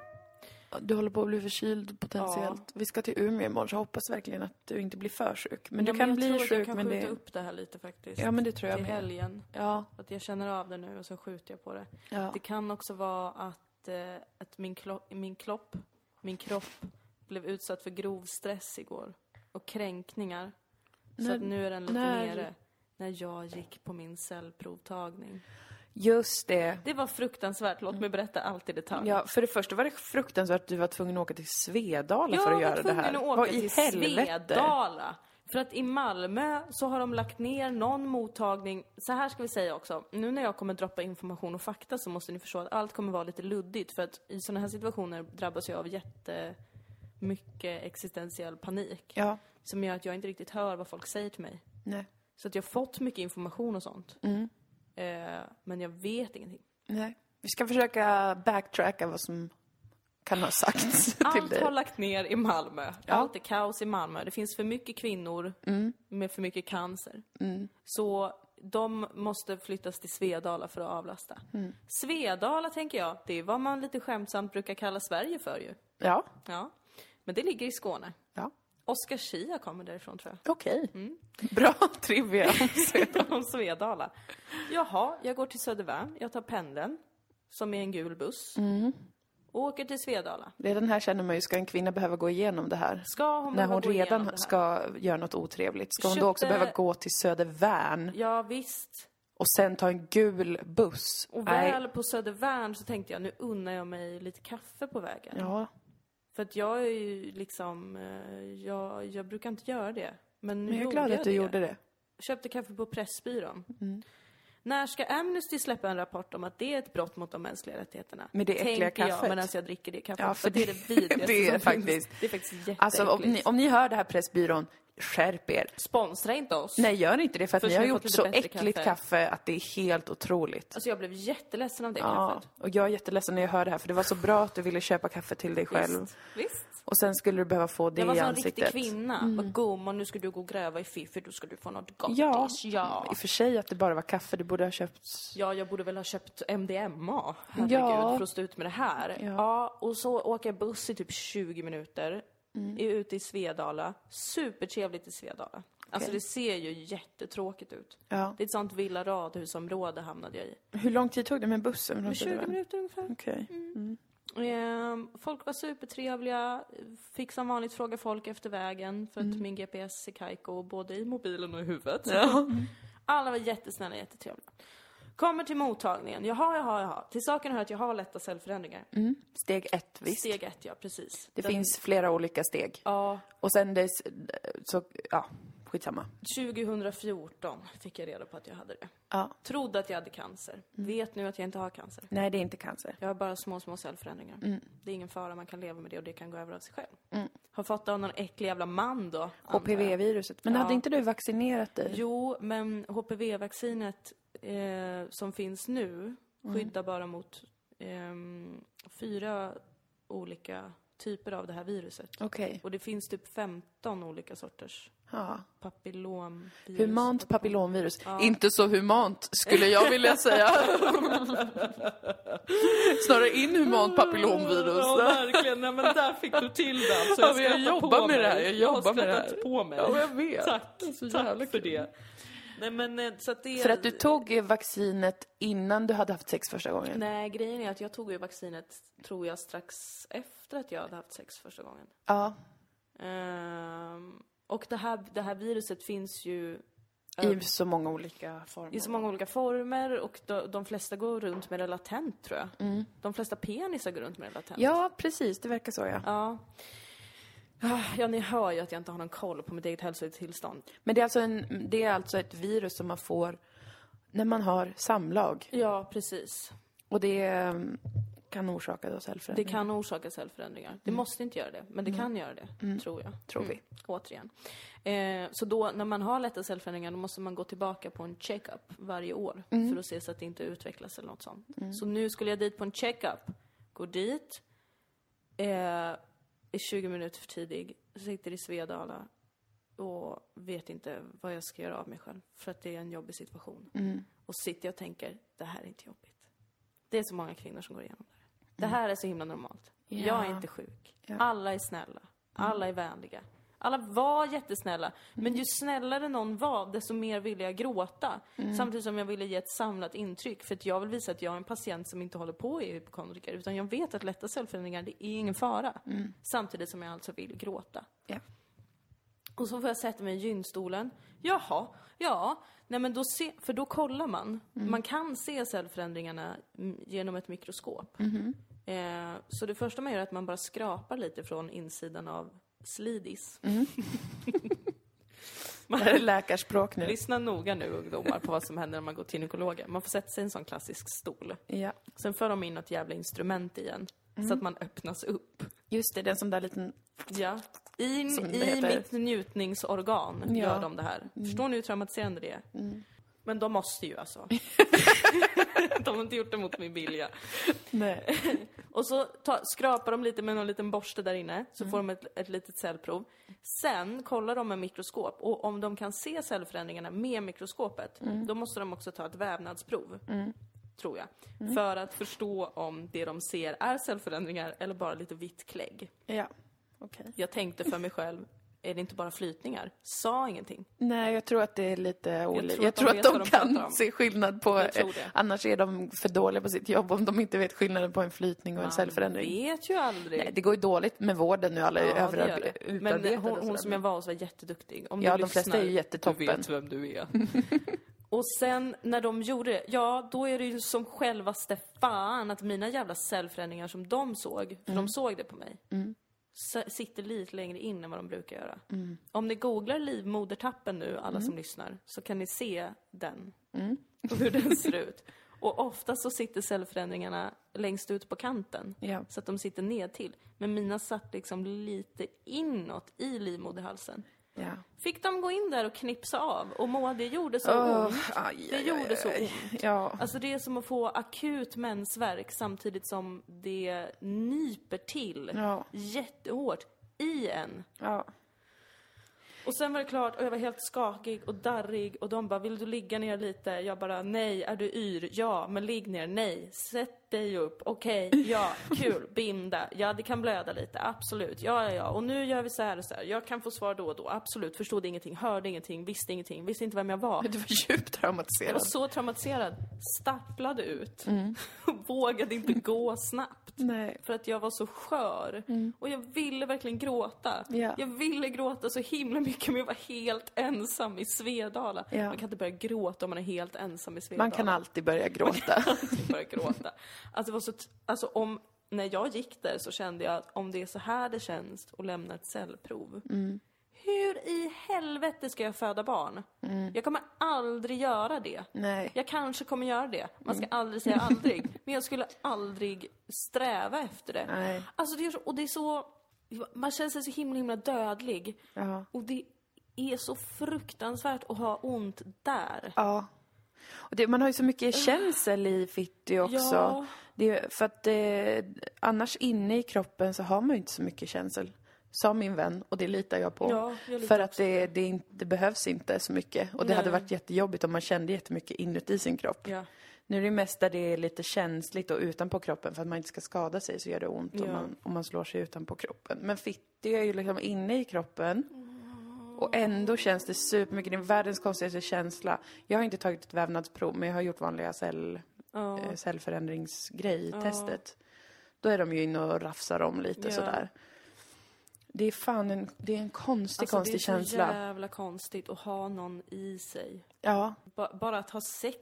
[SPEAKER 2] Du håller på att bli förkyld potentiellt. Vi ska till Umeå imorgon så jag hoppas verkligen att du inte blir för sjuk. Men
[SPEAKER 1] Ja,
[SPEAKER 2] du kan
[SPEAKER 1] jag
[SPEAKER 2] bli
[SPEAKER 1] tror att
[SPEAKER 2] sjuk
[SPEAKER 1] Jag kan
[SPEAKER 2] men
[SPEAKER 1] skjuta
[SPEAKER 2] det...
[SPEAKER 1] upp det här lite faktiskt.
[SPEAKER 2] Ja men det tror jag
[SPEAKER 1] till
[SPEAKER 2] med.
[SPEAKER 1] helgen.
[SPEAKER 2] Ja,
[SPEAKER 1] Att jag känner av det nu och så skjuter jag på det.
[SPEAKER 2] ja.
[SPEAKER 1] Det kan också vara att, eh, att min, klo- min, klopp, min kropp blev utsatt för grov stress igår. Och kränkningar. så
[SPEAKER 2] När-
[SPEAKER 1] att nu är den lite
[SPEAKER 2] när-
[SPEAKER 1] nere. När jag gick på min cellprovtagning.
[SPEAKER 2] Just det.
[SPEAKER 1] Det var fruktansvärt, låt mig berätta allt i detalj.
[SPEAKER 2] Ja, för det första var det fruktansvärt att du var tvungen att åka till Svedala
[SPEAKER 1] Jag
[SPEAKER 2] för att
[SPEAKER 1] var
[SPEAKER 2] göra det här.
[SPEAKER 1] tvungen att åka
[SPEAKER 2] Vad
[SPEAKER 1] till
[SPEAKER 2] i helvete?
[SPEAKER 1] Svedala. För att i Malmö så har de lagt ner någon mottagning. Så här ska vi säga också. Nu när jag kommer droppa information och fakta så måste ni förstå att allt kommer vara lite luddigt. För att i sådana här situationer drabbas jag av jättemycket existentiell panik.
[SPEAKER 2] Ja,
[SPEAKER 1] Som gör att jag inte riktigt hör vad folk säger till mig.
[SPEAKER 2] nej,
[SPEAKER 1] Så att jag har fått mycket information och sånt.
[SPEAKER 2] Mm.
[SPEAKER 1] Eh, men jag vet ingenting.
[SPEAKER 2] nej. Vi ska försöka backtracka vad som kan ha sagts till
[SPEAKER 1] Allt
[SPEAKER 2] dig.
[SPEAKER 1] har lagt ner i Malmö. Allt är kaos i Malmö. Det finns för mycket kvinnor med för mycket cancer. Så de måste flyttas till Svedala för att avlasta. Svedala tänker jag, det är vad man lite skämtsamt brukar kalla Sverige för ju.
[SPEAKER 2] Ja,
[SPEAKER 1] Ja. Men det ligger i Skåne.
[SPEAKER 2] ja.
[SPEAKER 1] Oscar Schia kommer därifrån tror jag.
[SPEAKER 2] Okej.
[SPEAKER 1] Mm.
[SPEAKER 2] Bra trivia.
[SPEAKER 1] om Svedala. Jaha, jag går till Södervärn, jag tar pendeln, som är en gul buss. Och åker till Svedala.
[SPEAKER 2] Redan här känner man ju, ska en kvinna behöva gå igenom det här?
[SPEAKER 1] Ska hon
[SPEAKER 2] När
[SPEAKER 1] behöva
[SPEAKER 2] hon
[SPEAKER 1] gå igenom det
[SPEAKER 2] redan
[SPEAKER 1] här?
[SPEAKER 2] ska göra något otrevligt, ska hon då
[SPEAKER 1] Köpte-
[SPEAKER 2] också behöva gå till Södervärn
[SPEAKER 1] Ja, visst.
[SPEAKER 2] och sen ta en gul buss?
[SPEAKER 1] Och
[SPEAKER 2] Nej.
[SPEAKER 1] väl på Södervärn så tänkte jag, nu unnar jag mig lite kaffe på vägen.
[SPEAKER 2] Ja,
[SPEAKER 1] För att jag är ju liksom, eh, jag, jag brukar inte göra det. Men nu
[SPEAKER 2] men jag är
[SPEAKER 1] gjorde
[SPEAKER 2] glad att du
[SPEAKER 1] det.
[SPEAKER 2] gjorde Mm. det.
[SPEAKER 1] Köpte kaffe på Pressbyrån. När ska Amnesty släppa en rapport om att det är ett brott mot de mänskliga rättigheterna?
[SPEAKER 2] Med det äckliga
[SPEAKER 1] Tänker jag
[SPEAKER 2] kaffet.
[SPEAKER 1] medan jag dricker det kaffet.
[SPEAKER 2] Ja, för
[SPEAKER 1] det är
[SPEAKER 2] det-
[SPEAKER 1] det vidrigaste
[SPEAKER 2] det är
[SPEAKER 1] som
[SPEAKER 2] faktiskt-
[SPEAKER 1] finns. Det är faktiskt jätteäckligt.
[SPEAKER 2] Alltså om ni, om ni hör det här Pressbyrån, skärp er.
[SPEAKER 1] Sponsra inte oss.
[SPEAKER 2] Nej, gör inte det för att
[SPEAKER 1] Först
[SPEAKER 2] ni har
[SPEAKER 1] har vi fått
[SPEAKER 2] gjort
[SPEAKER 1] lite
[SPEAKER 2] så
[SPEAKER 1] bättre
[SPEAKER 2] äckligt kaffe.
[SPEAKER 1] kaffe.
[SPEAKER 2] att det är helt otroligt.
[SPEAKER 1] Alltså jag blev jätteledsen av det
[SPEAKER 2] Ja,
[SPEAKER 1] kaffet.
[SPEAKER 2] och jag är jätteledsen när jag hör det här för det var så bra att du ville köpa kaffe till dig själv.
[SPEAKER 1] Visst. Visst.
[SPEAKER 2] Och sen skulle du behöva få det
[SPEAKER 1] Jag var
[SPEAKER 2] i
[SPEAKER 1] som en riktig
[SPEAKER 2] ansiktet.
[SPEAKER 1] kvinna. Vad gumman, nu ska du gå och gräva i fiffi, då ska du få något gottis.
[SPEAKER 2] Ja.
[SPEAKER 1] ja.
[SPEAKER 2] I och för sig att det bara var kaffe, du borde ha köpt...
[SPEAKER 1] Ja, jag borde väl ha köpt MDMA. Herregud,
[SPEAKER 2] Ja.
[SPEAKER 1] för att stå ut med det här.
[SPEAKER 2] Ja.
[SPEAKER 1] Ja. och så åker jag buss i typ 20 minuter.
[SPEAKER 2] Mm.
[SPEAKER 1] Är ute i Svedala. Supertrevligt i Svedala. Alltså det ser ju jättetråkigt ut.
[SPEAKER 2] Ja.
[SPEAKER 1] Det är ett sånt villa radhusområde hamnade jag i.
[SPEAKER 2] Hur lång tid tog det med bussen? från
[SPEAKER 1] 20
[SPEAKER 2] Södermalm?
[SPEAKER 1] minuter ungefär.
[SPEAKER 2] Okej.
[SPEAKER 1] Ehm, folk var supertrevliga, fick som vanligt fråga folk efter vägen för att
[SPEAKER 2] Mm.
[SPEAKER 1] min GPS är kajko både i mobilen och i huvudet. Alla var jättesnälla, jättetrevliga. Kommer till mottagningen, jaha, jaha, jaha. Till saken hör att jag har lätta cellförändringar.
[SPEAKER 2] Steg ett, Mm. visst.
[SPEAKER 1] Mm. Steg ett, ja precis.
[SPEAKER 2] Det finns flera olika steg.
[SPEAKER 1] Ja,
[SPEAKER 2] Och sen det... Så, ja, skitsamma.
[SPEAKER 1] 2014 fick jag reda på att jag hade det.
[SPEAKER 2] Ja. Mm.
[SPEAKER 1] Trodde att jag hade cancer. Vet nu att jag inte har cancer.
[SPEAKER 2] Nej, det är inte cancer.
[SPEAKER 1] Jag har bara små, små cellförändringar.
[SPEAKER 2] Mm.
[SPEAKER 1] Det är ingen fara, man kan leva med det och det kan gå över av sig själv. Har fått det av någon äcklig jävla man då. antar jag.
[SPEAKER 2] HPV-viruset. Men hade inte du vaccinerat dig?
[SPEAKER 1] Jo,
[SPEAKER 2] Mm.
[SPEAKER 1] men HPV-vaccinet eh, som finns nu skyddar bara mot ehm, fyra olika typer av det här viruset.
[SPEAKER 2] Okej.
[SPEAKER 1] Och det finns typ 15 olika sorters
[SPEAKER 2] Ja.
[SPEAKER 1] papillomvirus.
[SPEAKER 2] Humant papillomvirus. Inte så humant skulle jag vilja säga. Snarare inhumant papillomvirus.
[SPEAKER 1] Ja, verkligen. Nej, men där fick du till det. Alltså,
[SPEAKER 2] Ja, men jag
[SPEAKER 1] skrattar
[SPEAKER 2] jobbar
[SPEAKER 1] på
[SPEAKER 2] med det här,
[SPEAKER 1] mig.
[SPEAKER 2] jag
[SPEAKER 1] har
[SPEAKER 2] jobbar med det
[SPEAKER 1] skrattat
[SPEAKER 2] här.
[SPEAKER 1] på mig.
[SPEAKER 2] Ja, jag vet.
[SPEAKER 1] Tack,
[SPEAKER 2] Så jävla
[SPEAKER 1] tack för
[SPEAKER 2] kul.
[SPEAKER 1] det. Nej, men, eh, så att det
[SPEAKER 2] För att du tog eh, vaccinet innan du hade haft sex första gången?
[SPEAKER 1] Nej, grejen är att jag tog ju vaccinet, tror jag, strax efter att jag hade haft sex första gången.
[SPEAKER 2] Ja.
[SPEAKER 1] Ehm, och det här, det här viruset finns ju
[SPEAKER 2] I så många olika former.
[SPEAKER 1] i så många olika former och de, de flesta går runt med det latent, tror jag. De flesta penisar går runt med det latent.
[SPEAKER 2] Mm. Ja, precis. Det verkar så, ja.
[SPEAKER 1] Ja. Ah, Ja, ni hör ju att jag inte har någon koll på mitt eget hälsotillstånd.
[SPEAKER 2] Men det är, alltså en, det är alltså ett virus som man får när man har samlag.
[SPEAKER 1] Ja, precis.
[SPEAKER 2] Och det eh, kan orsaka då
[SPEAKER 1] Det
[SPEAKER 2] cellförändringar.
[SPEAKER 1] kan orsaka cellförändringar. Det måste inte göra det, men det kan göra det, tror jag.
[SPEAKER 2] Mm.
[SPEAKER 1] Mm.
[SPEAKER 2] Tror vi.
[SPEAKER 1] Återigen. Eh, så då, när man har lätta cellförändringar, då måste man gå tillbaka på en checkup varje år
[SPEAKER 2] Mm.
[SPEAKER 1] för att se så att det inte utvecklas eller något sånt. Så nu skulle jag dit på en checkup. Går dit, eh, är 20 minuter för tidig, sitter i Svedala och vet inte vad jag ska göra av mig själv för att det är en jobbig situation.
[SPEAKER 2] Mm.
[SPEAKER 1] Och sitter jag och tänker, det här är inte jobbigt. Det är så många kvinnor som går igenom det här. Det här är så himla normalt. Jag är
[SPEAKER 2] Mm. Ja.
[SPEAKER 1] inte sjuk.
[SPEAKER 2] Ja.
[SPEAKER 1] Alla är snälla. Alla är vänliga. Alla var jättesnälla.
[SPEAKER 2] Mm.
[SPEAKER 1] Men ju snällare någon var, desto mer ville jag gråta.
[SPEAKER 2] Mm.
[SPEAKER 1] Samtidigt som jag ville ge ett samlat intryck. För att jag vill visa att jag är en patient som inte håller på i hypokondriker. Utan jag vet att lätta cellförändringar, det är ingen fara.
[SPEAKER 2] Mm.
[SPEAKER 1] Samtidigt som jag alltså vill gråta.
[SPEAKER 2] Ja.
[SPEAKER 1] Och så får jag sätta mig i gynstolen. Jaha, ja. Nej men då se, för då kollar man. Man kan se cellförändringarna mm, genom ett mikroskop. Eh, så det första man gör är att man bara skrapar lite från insidan av slidis.
[SPEAKER 2] Det här är läkarspråk nu.
[SPEAKER 1] Lyssna noga nu ungdomar på vad som händer när man går till gynekologen. Man får sätta sig i en sån klassisk stol.
[SPEAKER 2] Ja.
[SPEAKER 1] Sen för de in något jävla instrument igen. Så att man öppnas upp.
[SPEAKER 2] Just det, den som där liten...
[SPEAKER 1] Ja. In
[SPEAKER 2] Som det
[SPEAKER 1] i
[SPEAKER 2] heter.
[SPEAKER 1] mitt njutningsorgan
[SPEAKER 2] Ja. Mm.
[SPEAKER 1] gör de det här. Förstår ni hur traumatiserande det är? Men de måste ju alltså. de har inte gjort det mot min vilja.
[SPEAKER 2] Nej.
[SPEAKER 1] Och så ta, skrapar de lite med någon liten borste där inne, så
[SPEAKER 2] Mm.
[SPEAKER 1] får de ett, ett litet cellprov. Sen kollar de med mikroskop och om de kan se cellförändringarna med mikroskopet,
[SPEAKER 2] Mm.
[SPEAKER 1] då måste de också ta ett vävnadsprov. Tror jag.
[SPEAKER 2] Mm.
[SPEAKER 1] För att förstå om det de ser är cellförändringar eller bara lite vitt klägg.
[SPEAKER 2] Ja. Okej.
[SPEAKER 1] Jag tänkte för mig själv, är det inte bara flytningar? Sa ingenting.
[SPEAKER 2] Nej, jag tror att det är lite olika.
[SPEAKER 1] tror
[SPEAKER 2] Jag
[SPEAKER 1] att
[SPEAKER 2] tror
[SPEAKER 1] de
[SPEAKER 2] att
[SPEAKER 1] vet
[SPEAKER 2] de,
[SPEAKER 1] vad de pratar
[SPEAKER 2] kan
[SPEAKER 1] om.
[SPEAKER 2] se skillnad på...
[SPEAKER 1] Jag tror det.
[SPEAKER 2] Annars är de för dåliga på sitt jobb om de inte vet skillnaden på en flytning och en cellförändring.
[SPEAKER 1] Vet ju aldrig.
[SPEAKER 2] Nej, det går ju dåligt med vården nu. Alla är
[SPEAKER 1] Ja, det gör
[SPEAKER 2] överarbetade.
[SPEAKER 1] det. Men eh, hon,
[SPEAKER 2] och
[SPEAKER 1] hon
[SPEAKER 2] sådär.
[SPEAKER 1] som jag var hos var jätteduktig. Om
[SPEAKER 2] Ja,
[SPEAKER 1] du
[SPEAKER 2] de flesta
[SPEAKER 1] lyssnar,
[SPEAKER 2] är ju
[SPEAKER 1] Du
[SPEAKER 2] jättetoppen.
[SPEAKER 1] vet vem du är. Och sen när de gjorde det, ja då är det ju som självaste fan att mina jävla cellförändringar som de såg, för
[SPEAKER 2] Mm.
[SPEAKER 1] de såg det på mig, s- sitter lite längre in än vad de brukar göra.
[SPEAKER 2] Mm.
[SPEAKER 1] Om ni googlar livmodertappen nu, alla som lyssnar, så kan ni se den.
[SPEAKER 2] Mm.
[SPEAKER 1] Och hur den ser ut. Och ofta så sitter cellförändringarna längst ut på kanten.
[SPEAKER 2] Ja.
[SPEAKER 1] Så att de sitter ned till. Men mina satt liksom lite inåt i livmoderhalsen.
[SPEAKER 2] Ja.
[SPEAKER 1] Fick de gå in där och knipsa av? Och Moa, det gjorde så
[SPEAKER 2] Åh,
[SPEAKER 1] ont.
[SPEAKER 2] aj,
[SPEAKER 1] Det
[SPEAKER 2] aj,
[SPEAKER 1] gjorde
[SPEAKER 2] aj,
[SPEAKER 1] så
[SPEAKER 2] aj.
[SPEAKER 1] ont.
[SPEAKER 2] Ja.
[SPEAKER 1] Alltså det är som att få akut mensvärk samtidigt som det nyper till
[SPEAKER 2] Ja.
[SPEAKER 1] jättehårt i en.
[SPEAKER 2] ja.
[SPEAKER 1] Och sen var det klart och jag var helt skakig och darrig och de bara, vill du ligga ner lite? Jag bara, nej, är du yr? Ja, men ligg ner. Nej, sätt dig upp. Okej, ja, kul, binda. Ja, det kan blöda lite, absolut. Ja, ja, ja. Och nu gör vi så här och så här. Jag kan få svar då och då, absolut. Förstod ingenting, hörde ingenting, visste ingenting, visste inte vem jag var.
[SPEAKER 2] Du var djupt
[SPEAKER 1] Jag
[SPEAKER 2] traumatiserad.
[SPEAKER 1] var så traumatiserad. Stapplade ut. Vågade inte gå snabbt.
[SPEAKER 2] Nej.
[SPEAKER 1] För att jag var så skör. Och jag ville verkligen gråta.
[SPEAKER 2] Mm. Ja.
[SPEAKER 1] Jag ville gråta så himla mycket men jag var helt ensam i Svedala.
[SPEAKER 2] Ja.
[SPEAKER 1] Man kan inte börja gråta om man är helt ensam i Svedala.
[SPEAKER 2] Man kan alltid börja gråta.
[SPEAKER 1] alltid börja gråta. Alltså, det var så t- alltså om, när jag gick där så kände jag att om det är så här det känns att lämna ett cellprov.
[SPEAKER 2] Mm.
[SPEAKER 1] Hur i helvete ska jag föda barn?
[SPEAKER 2] Mm.
[SPEAKER 1] Jag kommer aldrig göra det.
[SPEAKER 2] Nej.
[SPEAKER 1] Jag kanske kommer göra det. Man
[SPEAKER 2] Mm.
[SPEAKER 1] ska aldrig säga aldrig. Men jag skulle aldrig sträva efter det.
[SPEAKER 2] Nej.
[SPEAKER 1] Alltså det är så, och det är så... Man känner sig så himla, himla dödlig.
[SPEAKER 2] Ja.
[SPEAKER 1] Och det är så fruktansvärt att ha ont där.
[SPEAKER 2] Ja. Och det, man har ju så mycket känsel i fitti också.
[SPEAKER 1] Ja.
[SPEAKER 2] Det är, för att eh, annars inne i kroppen så har man ju inte så mycket känsel. Sa min vän, och det litar jag på.
[SPEAKER 1] Ja, jag litar
[SPEAKER 2] för att det, det, är inte, det behövs inte så mycket. Och det hade varit jättejobbigt om man kände jättemycket inuti sin kropp.
[SPEAKER 1] Ja.
[SPEAKER 2] Nu är det mest där det är lite känsligt och utanpå kroppen för att man inte ska skada sig så gör det ont om,
[SPEAKER 1] Ja.
[SPEAKER 2] man, om man slår sig utanpå kroppen. Men fitti är ju liksom inne i kroppen. Och ändå känns det supermycket. Det är världens konstigaste känsla. Jag har inte tagit ett vävnadsprov, men jag har gjort vanliga cell,
[SPEAKER 1] Ja.
[SPEAKER 2] eh, cellförändringsgrej, testet. Då är de ju inne och rafsar om lite
[SPEAKER 1] Ja.
[SPEAKER 2] sådär. Det är fan en, det är en konstig,
[SPEAKER 1] Alltså,
[SPEAKER 2] konstig känsla.
[SPEAKER 1] Det är så jävla konstigt att ha någon i sig.
[SPEAKER 2] Ja,
[SPEAKER 1] Ba- bara att ha sex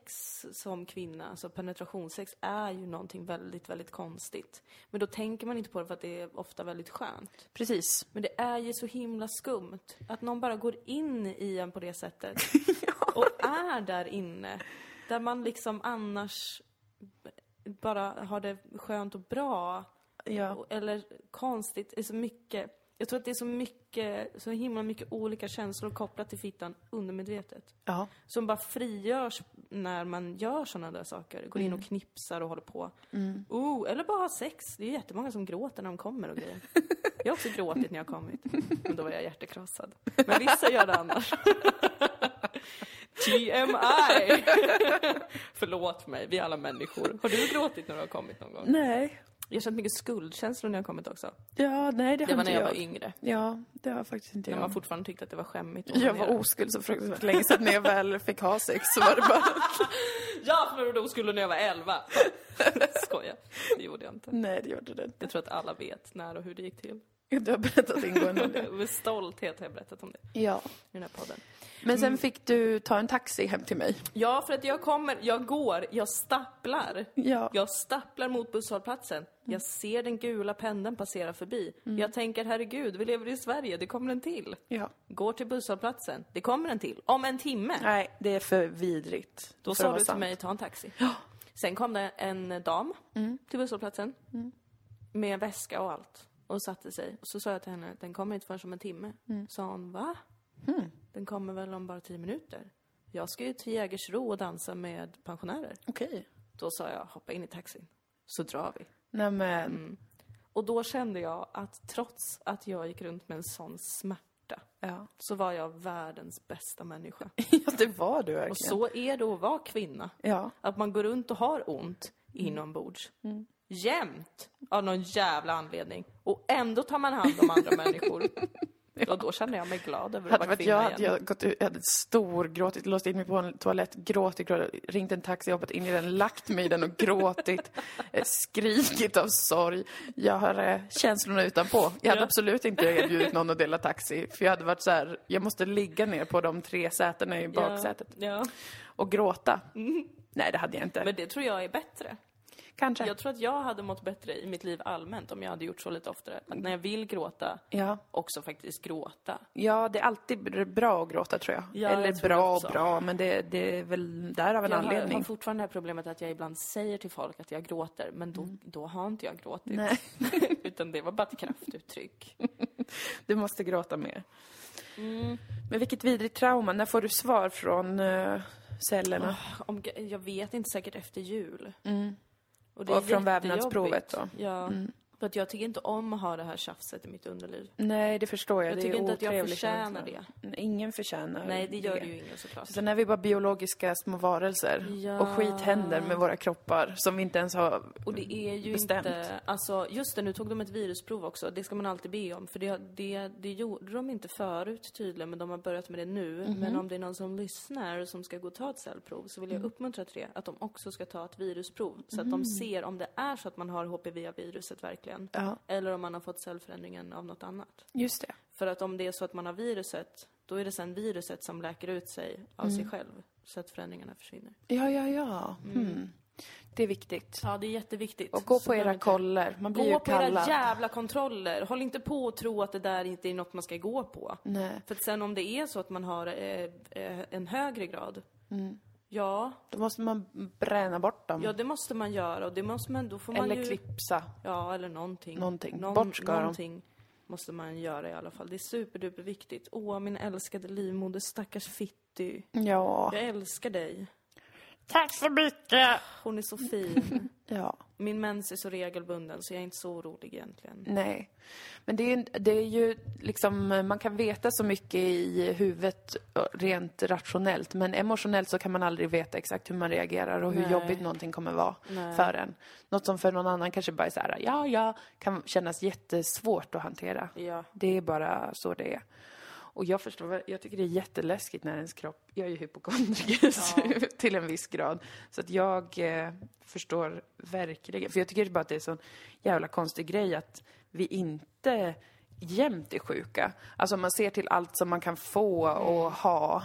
[SPEAKER 1] som kvinna, alltså penetrationssex, är ju någonting väldigt, väldigt konstigt. Men då tänker man inte på det för att det är ofta väldigt skönt.
[SPEAKER 2] precis.
[SPEAKER 1] Men det är ju så himla skumt att någon bara går in i en på det sättet och är där inne. Där man liksom annars b- bara har det skönt och bra.
[SPEAKER 2] Ja.
[SPEAKER 1] Och- Eller konstigt, det är så mycket. Jag tror att det är så mycket, så himla mycket olika känslor kopplat till fittan undermedvetet
[SPEAKER 2] ja.
[SPEAKER 1] som bara frigörs när man gör sådana där saker. Går in och
[SPEAKER 2] Mm.
[SPEAKER 1] knipsar och håller på. Oh, eller bara ha sex. Det är jättemånga som gråter när de kommer och grejer. Jag har också gråtit när jag kommit. Men då var jag hjärtekrossad. Men vissa gör det annars. TMI! Förlåt mig, vi är alla människor. Har du gråtit när du har kommit någon gång?
[SPEAKER 2] Nej.
[SPEAKER 1] Jag har känt mycket skuldkänslor när jag har kommit också.
[SPEAKER 2] Ja, nej det,
[SPEAKER 1] Det
[SPEAKER 2] har
[SPEAKER 1] var
[SPEAKER 2] inte
[SPEAKER 1] när jag
[SPEAKER 2] jag.
[SPEAKER 1] var yngre.
[SPEAKER 2] Ja, det har faktiskt inte
[SPEAKER 1] När
[SPEAKER 2] jag.
[SPEAKER 1] man fortfarande tyckte att det var skämmigt. att
[SPEAKER 2] Jag var
[SPEAKER 1] onanera.
[SPEAKER 2] oskuld så fruktansvärt länge så att när jag väl fick ha sex så var det bara...
[SPEAKER 1] Jag förlorade oskulden när jag var 11. Skoja, det gjorde jag inte.
[SPEAKER 2] Nej, det gjorde det inte.
[SPEAKER 1] Jag tror att alla vet när och hur det gick till.
[SPEAKER 2] Du har berättat ingående om det.
[SPEAKER 1] Med stolthet har jag berättat om det
[SPEAKER 2] Ja.
[SPEAKER 1] i den här podden.
[SPEAKER 2] Men sen fick du ta en taxi hem till mig.
[SPEAKER 1] Ja, för att jag kommer, jag går, jag stapplar.
[SPEAKER 2] Ja.
[SPEAKER 1] Jag stapplar mot busshållplatsen. Jag ser den gula pendeln passera förbi. Jag tänker, herregud, vi lever i Sverige, det kommer en till.
[SPEAKER 2] Ja.
[SPEAKER 1] Går till busshållplatsen, det kommer en till. Om en timme.
[SPEAKER 2] Nej, det är för vidrigt.
[SPEAKER 1] Då
[SPEAKER 2] för att
[SPEAKER 1] sa
[SPEAKER 2] vara
[SPEAKER 1] du till
[SPEAKER 2] sant.
[SPEAKER 1] mig, ta en taxi. Sen kom det en dam till busshållplatsen med väska och allt och satte sig. Och så sa jag till henne, den kommer inte förrän om en timme. Sa hon, va? Den kommer väl om bara tio minuter? Jag ska ju till Jägersro och dansa med pensionärer.
[SPEAKER 2] Okej.
[SPEAKER 1] Då sa jag, hoppa in i taxin, så drar vi.
[SPEAKER 2] Nej men,
[SPEAKER 1] Mm. Och då kände jag att trots att jag gick runt med en sån smärta
[SPEAKER 2] ja.
[SPEAKER 1] så var jag världens bästa människa.
[SPEAKER 2] ja, det var du verkligen.
[SPEAKER 1] Och så är det att vara kvinna.
[SPEAKER 2] Ja.
[SPEAKER 1] Att man går runt och har ont inombords. Jämt! Av någon jävla anledning. Och ändå tar man hand om andra människor. Ja, då känner jag mig glad över att
[SPEAKER 2] Hade
[SPEAKER 1] vara
[SPEAKER 2] varit
[SPEAKER 1] kvinna
[SPEAKER 2] jag,
[SPEAKER 1] igen.
[SPEAKER 2] hade jag gått ut, jag hade storgråtit, låst in mig på en toalett, gråtit, gråtit, ringt en taxi, hoppat in i den, lagt mig i den och gråtit, eh, skrikit av sorg. Jag har eh, känslorna utanpå. Jag hade
[SPEAKER 1] Ja.
[SPEAKER 2] absolut inte erbjudit någon att dela taxi, för jag hade varit så här, jag måste ligga ner på de tre sätena i baksätet
[SPEAKER 1] Ja, ja.
[SPEAKER 2] och gråta. Nej, det hade jag inte.
[SPEAKER 1] Mm. Men det tror jag är bättre.
[SPEAKER 2] Kanske.
[SPEAKER 1] Jag tror att jag hade mått bättre i mitt liv allmänt om jag hade gjort så lite oftare. Att när jag vill gråta,
[SPEAKER 2] Ja.
[SPEAKER 1] också faktiskt gråta.
[SPEAKER 2] ja, det är alltid br- bra att gråta tror jag.
[SPEAKER 1] Ja,
[SPEAKER 2] Eller
[SPEAKER 1] jag tror
[SPEAKER 2] bra
[SPEAKER 1] också.
[SPEAKER 2] och bra, men det, det är väl där av en
[SPEAKER 1] Jag har,
[SPEAKER 2] anledning.
[SPEAKER 1] har fortfarande det här problemet att jag ibland säger till folk att jag gråter, men då, då har inte jag gråtit.
[SPEAKER 2] Mm. Nej.
[SPEAKER 1] Utan det var bara ett kraftuttryck.
[SPEAKER 2] Du måste gråta mer. Mm. Men vilket vidrigt trauma. När får du svar från eh, cellerna?
[SPEAKER 1] Om, jag vet inte, säkert efter jul. Och,
[SPEAKER 2] Mm. Och från
[SPEAKER 1] jättejobbigt.
[SPEAKER 2] vävnadsprovet då? Mm.
[SPEAKER 1] Ja. För att jag tycker inte om att ha det här tjafset i mitt underliv.
[SPEAKER 2] Nej, det förstår jag.
[SPEAKER 1] Jag
[SPEAKER 2] det
[SPEAKER 1] tycker
[SPEAKER 2] är
[SPEAKER 1] inte att jag
[SPEAKER 2] otrevlig
[SPEAKER 1] förtjänar
[SPEAKER 2] känsla. Ingen förtjänar
[SPEAKER 1] Nej, det gör det ju ingen såklart.
[SPEAKER 2] Sen är vi bara biologiska små varelser.
[SPEAKER 1] Ja.
[SPEAKER 2] Och skit händer med våra kroppar som vi inte ens har...
[SPEAKER 1] Och det är ju
[SPEAKER 2] Bestämt.
[SPEAKER 1] inte... Alltså, just det, nu tog de ett virusprov också. Det ska man alltid be om. För det, det, det gjorde de inte förut tydligen, men de har börjat med det nu.
[SPEAKER 2] Mhm.
[SPEAKER 1] Men om det är någon som lyssnar som ska gå och ta ett cellprov så
[SPEAKER 2] Mm.
[SPEAKER 1] vill jag uppmuntra till det. Att de också ska ta ett virusprov. Så att de ser om det är så att man har HPV av viruset verkligen.
[SPEAKER 2] Ja.
[SPEAKER 1] Eller om man har fått cellförändringen av något annat.
[SPEAKER 2] Just det.
[SPEAKER 1] För att om det är så att man har viruset, då är det sen viruset som läker ut sig av sig
[SPEAKER 2] Mm.
[SPEAKER 1] själv. Så att förändringarna försvinner.
[SPEAKER 2] Ja, ja, ja.
[SPEAKER 1] Mm.
[SPEAKER 2] Hmm. Det är viktigt.
[SPEAKER 1] Ja, det är jätteviktigt.
[SPEAKER 2] Och gå
[SPEAKER 1] Så
[SPEAKER 2] på
[SPEAKER 1] behöver
[SPEAKER 2] era
[SPEAKER 1] inte-
[SPEAKER 2] koller. Man blir
[SPEAKER 1] Gå
[SPEAKER 2] ju
[SPEAKER 1] på era
[SPEAKER 2] kallad.
[SPEAKER 1] jävla kontroller. Håll inte på och tro att det där inte är något man ska gå på.
[SPEAKER 2] Nej.
[SPEAKER 1] För att sen om det är så att man har eh, eh, en högre grad,
[SPEAKER 2] Mm.
[SPEAKER 1] ja,
[SPEAKER 2] Då måste man bränna bort dem.
[SPEAKER 1] ja det måste man göra och det måste man, då får man
[SPEAKER 2] Eller
[SPEAKER 1] ju...
[SPEAKER 2] klipsa.
[SPEAKER 1] Ja, eller någonting.
[SPEAKER 2] Någonting. Bort ska de.
[SPEAKER 1] någonting måste man göra i alla fall. Det är superduperviktigt. Åh, min älskade livmoder, stackars Fitty.
[SPEAKER 2] Ja.
[SPEAKER 1] Jag älskar dig.
[SPEAKER 2] Tack så mycket!
[SPEAKER 1] Hon är så fin.
[SPEAKER 2] Ja.
[SPEAKER 1] Min mens är så regelbunden så jag är inte så orolig egentligen.
[SPEAKER 2] Nej. Men det är, det är ju liksom, man kan veta så mycket i huvudet eh, rent rationellt men emotionellt så kan man aldrig veta exakt hur man reagerar och hur
[SPEAKER 1] Nej.
[SPEAKER 2] jobbigt någonting kommer vara
[SPEAKER 1] Nej.
[SPEAKER 2] för en. Något som för någon annan kanske bara är så här, ja, ja, kan kännas jättesvårt att hantera.
[SPEAKER 1] Ja.
[SPEAKER 2] Det är bara så det är. Och jag förstår, väl- jag tycker det är jätteläskigt när ens kropp, jag är ju hypokondriker så- till en viss grad. Så att jag eh, förstår verkligen, för jag tycker bara att det är en sån jävla konstig grej att vi inte jämt är sjuka. Alltså om man ser till allt som man kan få och ha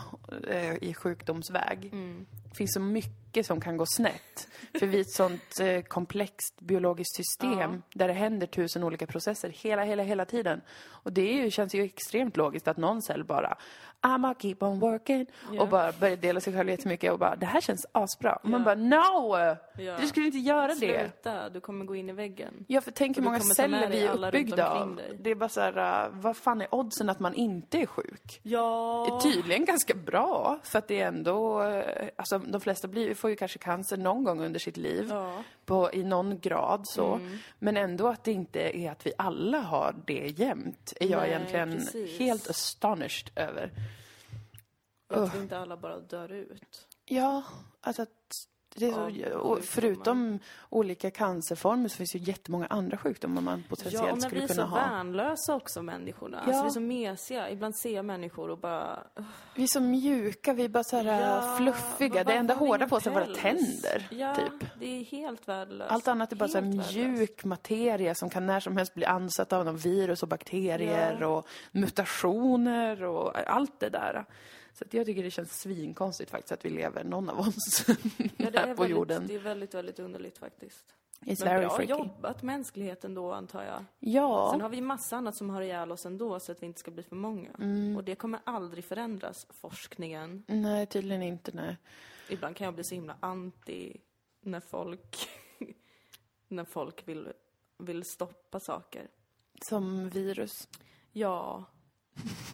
[SPEAKER 2] eh, i sjukdomsväg.
[SPEAKER 1] Mm.
[SPEAKER 2] Det finns så mycket som kan gå snett. För vi är ett sånt eh, komplext biologiskt system där det händer tusen olika processer hela, hela, hela tiden. Och det är ju, känns ju extremt logiskt att någon cell bara I'm keep on working och bara börjar dela sig själv jättemycket och bara det här känns asbra. Och man bara no!
[SPEAKER 1] Ja.
[SPEAKER 2] Du skulle inte göra det.
[SPEAKER 1] Sluta, du kommer gå in i väggen.
[SPEAKER 2] Ja, för tänk hur
[SPEAKER 1] Och du
[SPEAKER 2] många
[SPEAKER 1] kommer ta med
[SPEAKER 2] celler
[SPEAKER 1] dig
[SPEAKER 2] vi är
[SPEAKER 1] alla runt
[SPEAKER 2] uppbyggda
[SPEAKER 1] omkring
[SPEAKER 2] av.
[SPEAKER 1] dig.
[SPEAKER 2] Det är bara så här, uh, vad fan är oddsen att man inte är sjuk?
[SPEAKER 1] Ja.
[SPEAKER 2] Tydligen ganska bra, för att det är ändå, eh, alltså de flesta blir, får ju kanske cancer någon gång under sitt liv,
[SPEAKER 1] Ja.
[SPEAKER 2] på, i någon grad så. Men ändå att det inte är att vi alla har det jämt, är jag
[SPEAKER 1] Nej,
[SPEAKER 2] egentligen
[SPEAKER 1] precis.
[SPEAKER 2] helt astonished över.
[SPEAKER 1] Att vi inte alla bara dör ut.
[SPEAKER 2] Ja, alltså att det är
[SPEAKER 1] Ja,
[SPEAKER 2] så, och förutom olika cancerformer så finns det ju jättemånga andra sjukdomar man
[SPEAKER 1] Ja, och
[SPEAKER 2] potentiellt
[SPEAKER 1] när vi
[SPEAKER 2] skulle
[SPEAKER 1] är så
[SPEAKER 2] kunna ha.
[SPEAKER 1] värnlösa också människorna. Alltså vi är så mesiga. Ibland ser jag människor och bara... "Ugh,
[SPEAKER 2] Vi är så mjuka, vi är bara så här
[SPEAKER 1] ja,
[SPEAKER 2] Eh, fluffiga.
[SPEAKER 1] vad-
[SPEAKER 2] Det enda
[SPEAKER 1] varför har vi
[SPEAKER 2] hårda
[SPEAKER 1] ingen
[SPEAKER 2] på oss är våra
[SPEAKER 1] päls?"
[SPEAKER 2] tänder,
[SPEAKER 1] ja,
[SPEAKER 2] typ.
[SPEAKER 1] det är helt värdelöst.
[SPEAKER 2] Allt annat är bara så här
[SPEAKER 1] Helt värdelöst.
[SPEAKER 2] mjuk materia som kan när som helst bli ansatt av någon virus och bakterier
[SPEAKER 1] Ja.
[SPEAKER 2] och mutationer och allt det där. Så att jag tycker det känns svinkonstigt faktiskt att vi lever, någon av oss,
[SPEAKER 1] Ja, det är
[SPEAKER 2] här på
[SPEAKER 1] väldigt,
[SPEAKER 2] jorden.
[SPEAKER 1] Det är väldigt, väldigt underligt faktiskt.
[SPEAKER 2] It's
[SPEAKER 1] Men
[SPEAKER 2] very
[SPEAKER 1] bra
[SPEAKER 2] freaky.
[SPEAKER 1] jobbat mänskligheten då, antar jag. Sen
[SPEAKER 2] Ja,
[SPEAKER 1] har vi massa annat som har ihjäl oss ändå, så att vi inte ska bli för många.
[SPEAKER 2] Mm.
[SPEAKER 1] Och det kommer aldrig förändras, forskningen.
[SPEAKER 2] nej tydligen inte, nej.
[SPEAKER 1] Ibland kan jag bli så himla anti när folk, när folk vill, vill stoppa saker.
[SPEAKER 2] Som virus.
[SPEAKER 1] Ja.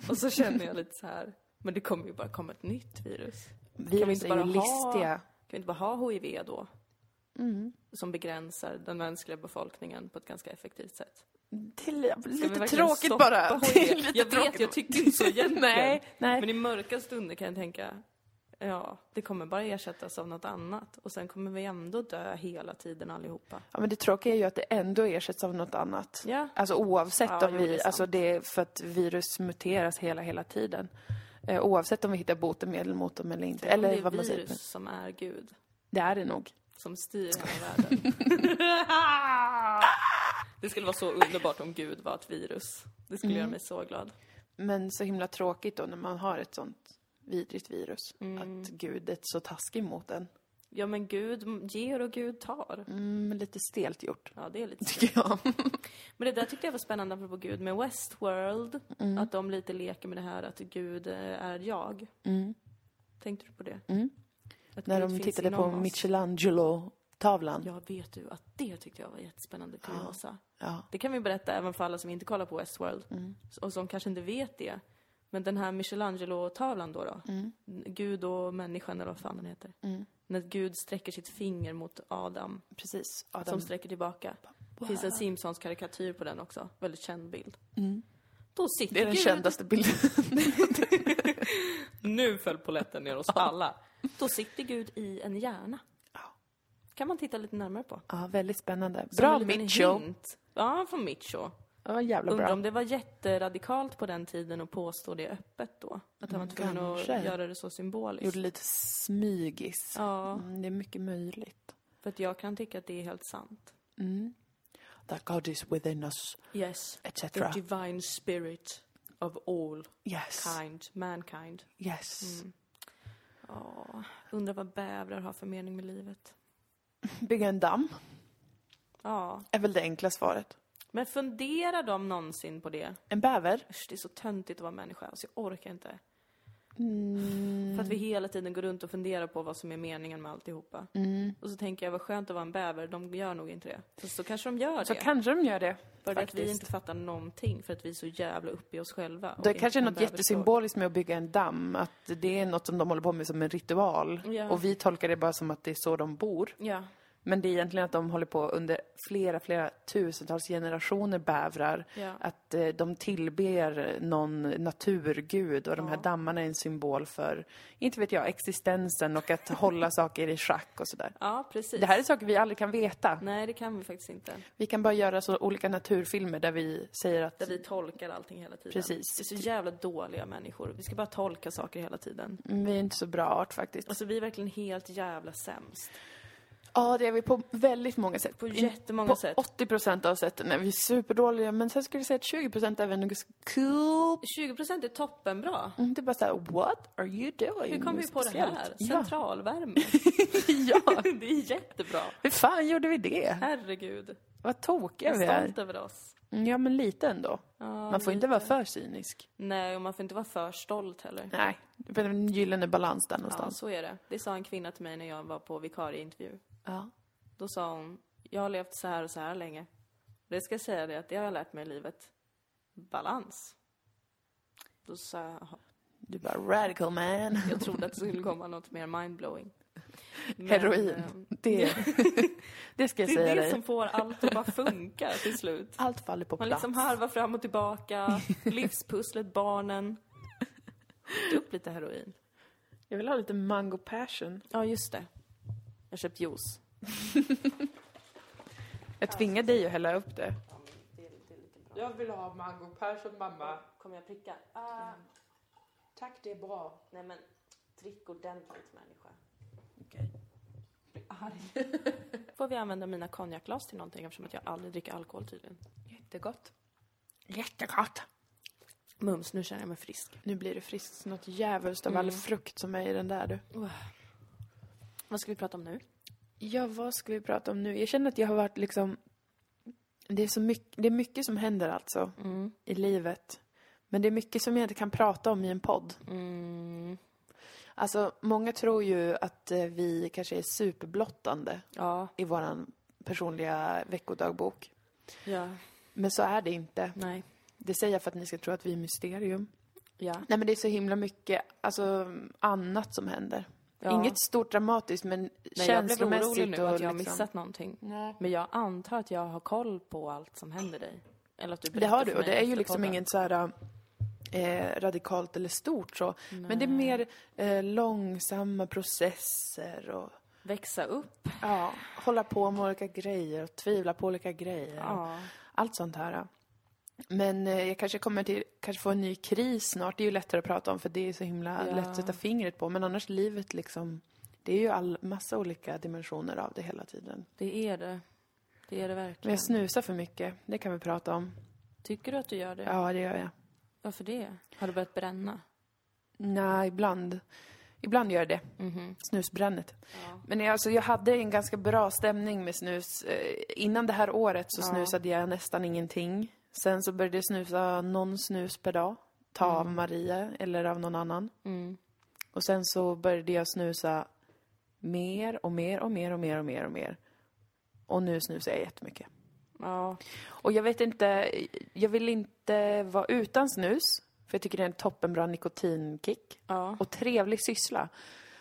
[SPEAKER 1] Och så känner jag lite så här. men det kommer ju bara komma ett nytt virus.
[SPEAKER 2] Virus
[SPEAKER 1] inte
[SPEAKER 2] är ju
[SPEAKER 1] bara ha-
[SPEAKER 2] listiga. Mm.
[SPEAKER 1] Kan vi inte bara ha HIV då? Som begränsar den mänskliga befolkningen på ett ganska effektivt sätt.
[SPEAKER 2] Det är
[SPEAKER 1] Ska vi
[SPEAKER 2] lite
[SPEAKER 1] verkligen
[SPEAKER 2] tråkigt
[SPEAKER 1] stoppa
[SPEAKER 2] bara.
[SPEAKER 1] HIV?
[SPEAKER 2] Det är lite
[SPEAKER 1] jag vet,
[SPEAKER 2] tråkigt.
[SPEAKER 1] jag tycker inte så egentligen.
[SPEAKER 2] Nej, nej.
[SPEAKER 1] Men i mörka stunder kan jag tänka, ja, det kommer bara ersättas av något annat. Och sen kommer vi ändå dö hela tiden allihopa.
[SPEAKER 2] Ja, men det tråkiga är ju att det ändå ersätts av något annat.
[SPEAKER 1] Ja.
[SPEAKER 2] Alltså oavsett
[SPEAKER 1] Ja,
[SPEAKER 2] om
[SPEAKER 1] jo,
[SPEAKER 2] vi,
[SPEAKER 1] det är sant.
[SPEAKER 2] alltså det är för att virus muteras hela, hela tiden. Eh, oavsett om vi hittar botemedel mot dem eller inte.
[SPEAKER 1] Om det
[SPEAKER 2] Eller
[SPEAKER 1] är
[SPEAKER 2] vad man säger.
[SPEAKER 1] virus som är Gud,
[SPEAKER 2] Det är det nog.
[SPEAKER 1] som styr hela världen. det skulle vara så underbart om Gud var ett virus. Det skulle
[SPEAKER 2] Mm.
[SPEAKER 1] göra mig så glad.
[SPEAKER 2] Men så himla tråkigt då när man har ett sånt vidrigt virus.
[SPEAKER 1] Mm.
[SPEAKER 2] Att Gud är så taskig mot en.
[SPEAKER 1] Ja men Gud ger och Gud tar.
[SPEAKER 2] Mm, lite stelt gjort,
[SPEAKER 1] Ja det är lite
[SPEAKER 2] tycker jag.
[SPEAKER 1] Men det där tyckte jag var spännande apropå Gud med Westworld.
[SPEAKER 2] Mm.
[SPEAKER 1] Att de lite leker med det här att Gud eh, är jag. Tänkte du på det? Att
[SPEAKER 2] Mm. när
[SPEAKER 1] Gud
[SPEAKER 2] de
[SPEAKER 1] finns
[SPEAKER 2] tittade på
[SPEAKER 1] inom oss.
[SPEAKER 2] Michelangelo-tavlan.
[SPEAKER 1] Ja, vet du att det tyckte jag var jättespännande kuriosa.
[SPEAKER 2] Ja.
[SPEAKER 1] Det kan vi berätta även för alla som inte kollar på Westworld.
[SPEAKER 2] Mm.
[SPEAKER 1] Och som kanske inte vet det. Men den här Michelangelo-tavlan då, då
[SPEAKER 2] Mm.
[SPEAKER 1] Gud och människan eller vad fan den heter. När Gud sträcker sitt finger mot Adam
[SPEAKER 2] Precis.
[SPEAKER 1] som
[SPEAKER 2] Adam.
[SPEAKER 1] sträcker tillbaka. Det finns en Simpsons karikatyr på den också, väldigt känd bild. Då sitter
[SPEAKER 2] Mm. Det är den
[SPEAKER 1] Gud,
[SPEAKER 2] kändaste bilden.
[SPEAKER 1] nu föll poletten ner hos alla. Då sitter Gud i en hjärna. Kan man titta lite närmare på.
[SPEAKER 2] Ja, väldigt spännande.
[SPEAKER 1] Som
[SPEAKER 2] Bra
[SPEAKER 1] en liten
[SPEAKER 2] Mitcho.
[SPEAKER 1] hint. Ja, från Mitcho.
[SPEAKER 2] Ja, jävla
[SPEAKER 1] Undrar
[SPEAKER 2] bra.
[SPEAKER 1] om det var jätteradikalt på den tiden att påstå det öppet då. Att han var tvungen
[SPEAKER 2] Mm, kanske.
[SPEAKER 1] att göra det så symboliskt.
[SPEAKER 2] Gjorde lite smygis.
[SPEAKER 1] Ja.
[SPEAKER 2] Mm, det är mycket möjligt.
[SPEAKER 1] För att jag kan tycka att det är helt sant.
[SPEAKER 2] That God is within us,
[SPEAKER 1] Yes. The
[SPEAKER 2] etc.
[SPEAKER 1] divine spirit of all
[SPEAKER 2] Yes.
[SPEAKER 1] kind, mankind.
[SPEAKER 2] Yes.
[SPEAKER 1] Ja, undrar vad bävrar har för mening med livet.
[SPEAKER 2] Bygga en damm
[SPEAKER 1] Ja,
[SPEAKER 2] är väl det enkla svaret.
[SPEAKER 1] men funderar de någonsin på det?
[SPEAKER 2] En bäver?
[SPEAKER 1] Usch, det är så töntigt att vara människa, alltså jag orkar inte.
[SPEAKER 2] Mm.
[SPEAKER 1] För att vi hela tiden går runt och funderar på vad som är meningen med alltihopa.
[SPEAKER 2] Mm.
[SPEAKER 1] Och så tänker jag, vad skönt att vara en bäver, de gör nog inte det. Så, så kanske de gör
[SPEAKER 2] Så
[SPEAKER 1] det.
[SPEAKER 2] kanske de gör det.
[SPEAKER 1] Bara det att vi
[SPEAKER 2] faktiskt.
[SPEAKER 1] inte fattar någonting för att vi är så jävla uppe i oss själva. och
[SPEAKER 2] Det
[SPEAKER 1] inte
[SPEAKER 2] kanske är
[SPEAKER 1] kan
[SPEAKER 2] något
[SPEAKER 1] bäverspråk.
[SPEAKER 2] jättesymboliskt med att bygga en damm. Att det är något som de håller på med som en ritual.
[SPEAKER 1] Ja.
[SPEAKER 2] Och vi tolkar det bara som att det är så de bor.
[SPEAKER 1] Ja.
[SPEAKER 2] Men det är egentligen att de håller på under flera, flera tusentals generationer bävrar.
[SPEAKER 1] Ja.
[SPEAKER 2] Att eh, de tillber någon naturgud och de här dammarna är en symbol för, inte vet jag, existensen och att hålla saker i schack och sådär.
[SPEAKER 1] Ja, precis.
[SPEAKER 2] Det här är saker vi aldrig kan veta.
[SPEAKER 1] Nej, det kan vi faktiskt inte.
[SPEAKER 2] Vi kan bara göra så olika naturfilmer där vi säger att
[SPEAKER 1] Där vi tolkar allting hela tiden.
[SPEAKER 2] Precis.
[SPEAKER 1] Vi är så jävla dåliga människor. Vi ska bara tolka saker hela tiden.
[SPEAKER 2] mm, vi är inte så bra art faktiskt.
[SPEAKER 1] Alltså vi är verkligen helt jävla sämst.
[SPEAKER 2] Ja, det är vi på väldigt många sätt.
[SPEAKER 1] På jättemånga
[SPEAKER 2] på
[SPEAKER 1] sätt.
[SPEAKER 2] 80 procent av sätten är vi superdåliga, men sen skulle jag säga att 20 procent är vi nog ganska cool.
[SPEAKER 1] 20% är toppenbra.
[SPEAKER 2] Mm, Det är bara såhär, what are you doing?
[SPEAKER 1] Hur kom vi på det här?
[SPEAKER 2] Ja.
[SPEAKER 1] Centralvärme.
[SPEAKER 2] ja,
[SPEAKER 1] det är jättebra.
[SPEAKER 2] hur fan gjorde vi det?
[SPEAKER 1] Herregud.
[SPEAKER 2] Vad tokiga
[SPEAKER 1] Jag
[SPEAKER 2] vi
[SPEAKER 1] är
[SPEAKER 2] är. Mm,
[SPEAKER 1] stolt över oss.
[SPEAKER 2] Ja, men lite ändå. Man får inte vara för cynisk.
[SPEAKER 1] Nej, och man får inte vara för stolt heller.
[SPEAKER 2] Nej, det är en gyllene balans där
[SPEAKER 1] Ja,
[SPEAKER 2] någonstans.
[SPEAKER 1] så är det. Det sa en kvinna till mig när jag var på vikarieintervju.
[SPEAKER 2] Ja.
[SPEAKER 1] Då sa hon, jag har levt så här och så här länge. Det ska jag säga det att det har jag lärt mig i livet. Balans. Då sa jag, "Jaha."
[SPEAKER 2] Du bara, radical man.
[SPEAKER 1] jag trodde att det skulle komma något mer mindblowing. Men, eh,
[SPEAKER 2] Heroin. Det, det ska jag
[SPEAKER 1] Det
[SPEAKER 2] säga
[SPEAKER 1] är det
[SPEAKER 2] dig.
[SPEAKER 1] som får allt att bara funka till slut.
[SPEAKER 2] Allt faller på
[SPEAKER 1] Man
[SPEAKER 2] plats.
[SPEAKER 1] liksom harvar fram och tillbaka, livspusslet, barnen. Ta upp lite heroin.
[SPEAKER 2] Jag vill ha lite mango passion.
[SPEAKER 1] Ja, just det. Jag har köpt juice.
[SPEAKER 2] Jag tvingar dig att hälla upp det.
[SPEAKER 4] Jag vill ha mango passion mamma.
[SPEAKER 1] Kommer jag pricka? Ah,
[SPEAKER 4] Tack det är bra.
[SPEAKER 1] nej men, drick ordentligt människa. Okej. Får vi använda mina konjakglas till någonting eftersom att jag aldrig dricker alkohol tydligen?
[SPEAKER 2] Jättegott. Jättegott.
[SPEAKER 1] Mums, nu känner jag mig frisk.
[SPEAKER 2] Nu blir det friskt något djävulskt av all frukt som är i den där du.
[SPEAKER 1] Vad ska vi prata om nu?
[SPEAKER 2] Ja, vad ska vi prata om nu? Jag känner att jag har varit liksom... Det är, så mycket, det är mycket som händer alltså i livet. Men det är mycket som jag inte kan prata om i en podd.
[SPEAKER 1] Mm,
[SPEAKER 2] Alltså, många tror ju att eh, vi kanske är superblottande
[SPEAKER 1] Ja,
[SPEAKER 2] i våran personliga veckodagbok.
[SPEAKER 1] ja,
[SPEAKER 2] Men så är det inte.
[SPEAKER 1] nej,
[SPEAKER 2] Det säger jag för att ni ska tro att vi är mysterium.
[SPEAKER 1] ja.
[SPEAKER 2] Nej men det är så himla mycket alltså, annat som händer.
[SPEAKER 1] Ja.
[SPEAKER 2] Inget stort dramatiskt men
[SPEAKER 1] Nej, jag blev
[SPEAKER 2] känslomässigt
[SPEAKER 1] orolig nu
[SPEAKER 2] och
[SPEAKER 1] att jag har
[SPEAKER 2] liksom-
[SPEAKER 1] missat någonting. Men jag antar att jag har koll på allt som händer dig. Eller att du
[SPEAKER 2] Det
[SPEAKER 1] berättar
[SPEAKER 2] har du
[SPEAKER 1] för
[SPEAKER 2] och
[SPEAKER 1] mig
[SPEAKER 2] det är ju
[SPEAKER 1] efter
[SPEAKER 2] liksom
[SPEAKER 1] podden.
[SPEAKER 2] inget så här eh, radikalt eller stort så. Men det är mer eh, långsamma processer och
[SPEAKER 1] Växa upp.
[SPEAKER 2] ja, hålla på med olika grejer och tvivla på olika grejer.
[SPEAKER 1] Ja.
[SPEAKER 2] Allt sånt här. Men eh, jag kanske kommer till, kanske få en ny kris snart. Det är ju lättare att prata om för det är så himla
[SPEAKER 1] Ja.
[SPEAKER 2] lätt att sätta fingret på. Men annars livet liksom, det är ju all, massa olika dimensioner av det hela tiden.
[SPEAKER 1] Det är det. Det är det
[SPEAKER 2] Men
[SPEAKER 1] verkligen.
[SPEAKER 2] jag snusar för mycket, det kan vi prata om.
[SPEAKER 1] Tycker du att du gör det?
[SPEAKER 2] Ja, det gör jag.
[SPEAKER 1] Varför det? Har du börjat bränna?
[SPEAKER 2] Nej, ibland. Ibland gör jag det.
[SPEAKER 1] Mhm.
[SPEAKER 2] Snusbrännet. Men jag, alltså, jag hade en ganska bra stämning med snus. Eh, Innan det här året så snusade jag nästan ingenting. Sen så började jag snusa någon snus per dag. Ta av Maria eller av någon annan.
[SPEAKER 1] Mm.
[SPEAKER 2] Och sen så började jag snusa mer och mer och mer och mer och mer och mer. Och nu snusar jag jättemycket.
[SPEAKER 1] Ja.
[SPEAKER 2] Och jag vet inte, jag vill inte vara utan snus. För jag tycker det är en toppenbra nikotinkick.
[SPEAKER 1] ja.
[SPEAKER 2] Och trevlig syssla.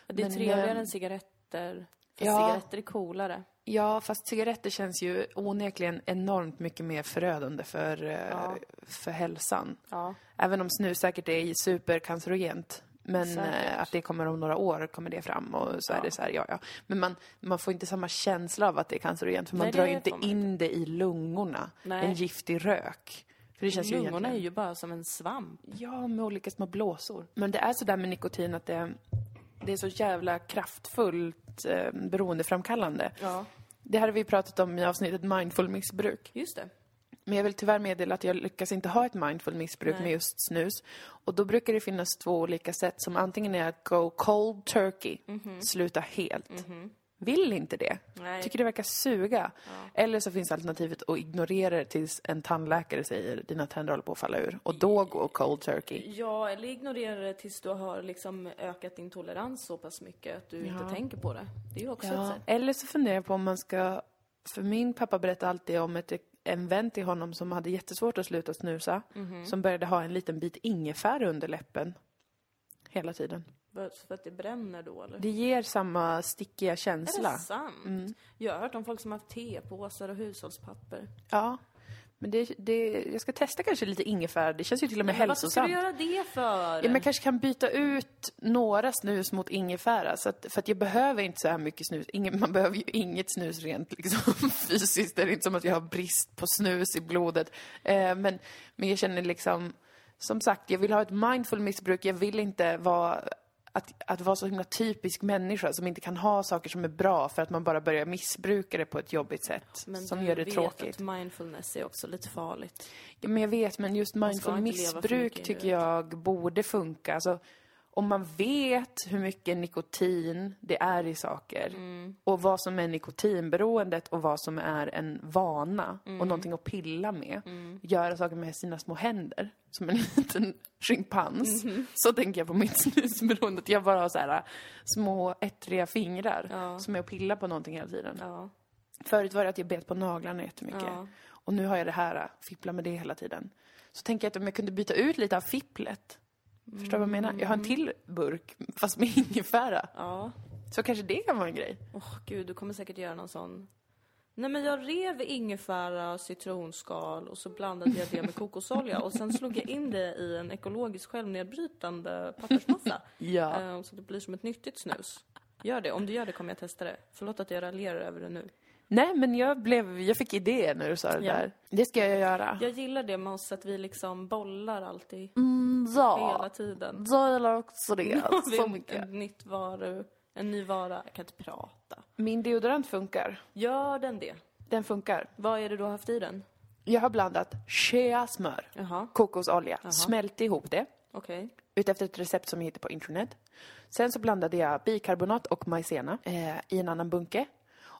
[SPEAKER 1] Det är
[SPEAKER 2] Men,
[SPEAKER 1] trevligare
[SPEAKER 2] eh,
[SPEAKER 1] än cigaretter. För
[SPEAKER 2] ja.
[SPEAKER 1] cigaretter är coolare.
[SPEAKER 2] Ja, fast cigaretter känns ju onekligen enormt mycket mer förödande för, eh, för hälsan.
[SPEAKER 1] Ja.
[SPEAKER 2] Även om snus säkert är supercancerogent. Men
[SPEAKER 1] Säkert.
[SPEAKER 2] eh, att det kommer om några år kommer det fram och så är det så här, ja ja. Men man, man får inte samma känsla av att det är cancerogent för man
[SPEAKER 1] Nej, det
[SPEAKER 2] drar ju inte
[SPEAKER 1] får man
[SPEAKER 2] in det i lungorna.
[SPEAKER 1] Nej.
[SPEAKER 2] En giftig rök. För det känns ju
[SPEAKER 1] Lungorna
[SPEAKER 2] egentligen...
[SPEAKER 1] är ju bara som en svamp.
[SPEAKER 2] Ja, med olika små blåsor. Men det är sådär med nikotin att det, det är så jävla kraftfullt eh, beroendeframkallande.
[SPEAKER 1] Ja.
[SPEAKER 2] Det här har vi pratat om i avsnittet mindful missbruk.
[SPEAKER 1] Just det.
[SPEAKER 2] Men jag vill tyvärr meddela att jag lyckas inte ha ett mindful missbruk med just snus. Och då brukar det finnas två olika sätt som antingen är att go cold turkey, sluta helt. Vill inte det.
[SPEAKER 1] Mhm. Nej.
[SPEAKER 2] Tycker det verkar suga. Eller så finns alternativet att ignorera det tills en tandläkare säger dina tänder håller på att falla ur. Och då gå cold turkey.
[SPEAKER 1] Ja, eller ignorera det tills du har liksom ökat din tolerans så pass mycket att du inte tänker på det. Det är ju också ett
[SPEAKER 2] Ja,
[SPEAKER 1] sätt.
[SPEAKER 2] eller så funderar jag på om man ska... För min pappa berättade alltid om ett, en vän till honom som hade jättesvårt att sluta
[SPEAKER 1] Mhm.
[SPEAKER 2] snusa. Som började ha en liten bit ingefära under läppen. Hela tiden.
[SPEAKER 1] För för att det bränner då eller?
[SPEAKER 2] Det Mm. ger samma stickiga
[SPEAKER 1] är
[SPEAKER 2] känsla.
[SPEAKER 1] det sant? Jag har hört om folk som har haft tepåsar och hushållspapper.
[SPEAKER 2] Ja. Men det, det, jag ska testa kanske lite ingefära. Det känns ju till och med
[SPEAKER 1] Men varför ska
[SPEAKER 2] hälsosamt.
[SPEAKER 1] du göra det för?
[SPEAKER 2] Ja, men jag kanske kan byta ut några snus mot ingefära. Så att, för att jag behöver inte så här mycket snus. Ingen, man behöver ju inget snus rent liksom, fysiskt. Det är inte som att jag har brist på snus i blodet. Eh, men, men jag känner liksom, som sagt, jag vill ha ett mindful missbruk. Jag vill inte vara att, att vara så himla typisk människa som inte kan ha saker som är bra för att man bara börjar missbruka det på ett jobbigt sätt.
[SPEAKER 1] Men
[SPEAKER 2] som
[SPEAKER 1] du
[SPEAKER 2] gör det
[SPEAKER 1] vet
[SPEAKER 2] tråkigt.
[SPEAKER 1] att mindfulness är också lite farligt.
[SPEAKER 2] Ja, men jag vet, men just
[SPEAKER 1] ska
[SPEAKER 2] mindful
[SPEAKER 1] inte leva för
[SPEAKER 2] missbruk
[SPEAKER 1] mycket,
[SPEAKER 2] tycker
[SPEAKER 1] du vet.
[SPEAKER 2] jag borde funka. Alltså, om man vet hur mycket nikotin det är i saker
[SPEAKER 1] Mm.
[SPEAKER 2] och vad som är nikotinberoendet och vad som är en vana och
[SPEAKER 1] Mm.
[SPEAKER 2] någonting att pilla med. Göra saker med sina små händer, som en liten schimpans.
[SPEAKER 1] Mm-hmm.
[SPEAKER 2] Så tänker jag på mitt snusberoende, att jag bara har så här, äh, små ettriga fingrar
[SPEAKER 1] Ja.
[SPEAKER 2] som är och pillar på någonting hela tiden.
[SPEAKER 1] Ja.
[SPEAKER 2] Förut var det att jag bet på naglarna jättemycket.
[SPEAKER 1] Ja.
[SPEAKER 2] Och nu har jag det här, äh, fippla med det hela tiden. Så tänker jag att om jag kunde byta ut lite av fipplet. Förstår du vad jag menar? Jag har en till burk, fast med ingefära.
[SPEAKER 1] Ja.
[SPEAKER 2] Så kanske det kan vara en grej.
[SPEAKER 1] Åh gud, du kommer säkert göra någon sån. Nej men jag rev ingefära, citronskal och så blandade jag det med kokosolja och sen slog jag in det i en ekologiskt självnedbrytande pappersmassa.
[SPEAKER 2] Ja.
[SPEAKER 1] Eh, Så det blir som ett nyttigt snus. Gör det, om du gör det kommer jag testa det. Förlåt att jag raljerar över det nu.
[SPEAKER 2] Nej, men jag, blev, jag fick idéer när du sa det
[SPEAKER 1] Ja.
[SPEAKER 2] där. Det ska jag göra.
[SPEAKER 1] Jag gillar det med oss att vi liksom bollar alltid, hela
[SPEAKER 2] Mm. ja,
[SPEAKER 1] tiden.
[SPEAKER 2] jag gillar också det så
[SPEAKER 1] Vi-
[SPEAKER 2] mycket.
[SPEAKER 1] Ett nytt varu, en ny vara. Jag kan inte prata.
[SPEAKER 2] Min deodorant funkar.
[SPEAKER 1] Gör den det?
[SPEAKER 2] Den funkar.
[SPEAKER 1] Vad är det du har haft i den?
[SPEAKER 2] Jag har blandat shea-smör,
[SPEAKER 1] Jaha,
[SPEAKER 2] kokosolja, smält ihop det.
[SPEAKER 1] okej.
[SPEAKER 2] utefter ett recept som jag hittade på internet. Sen så blandade jag bikarbonat och majsena eh, i en annan bunke.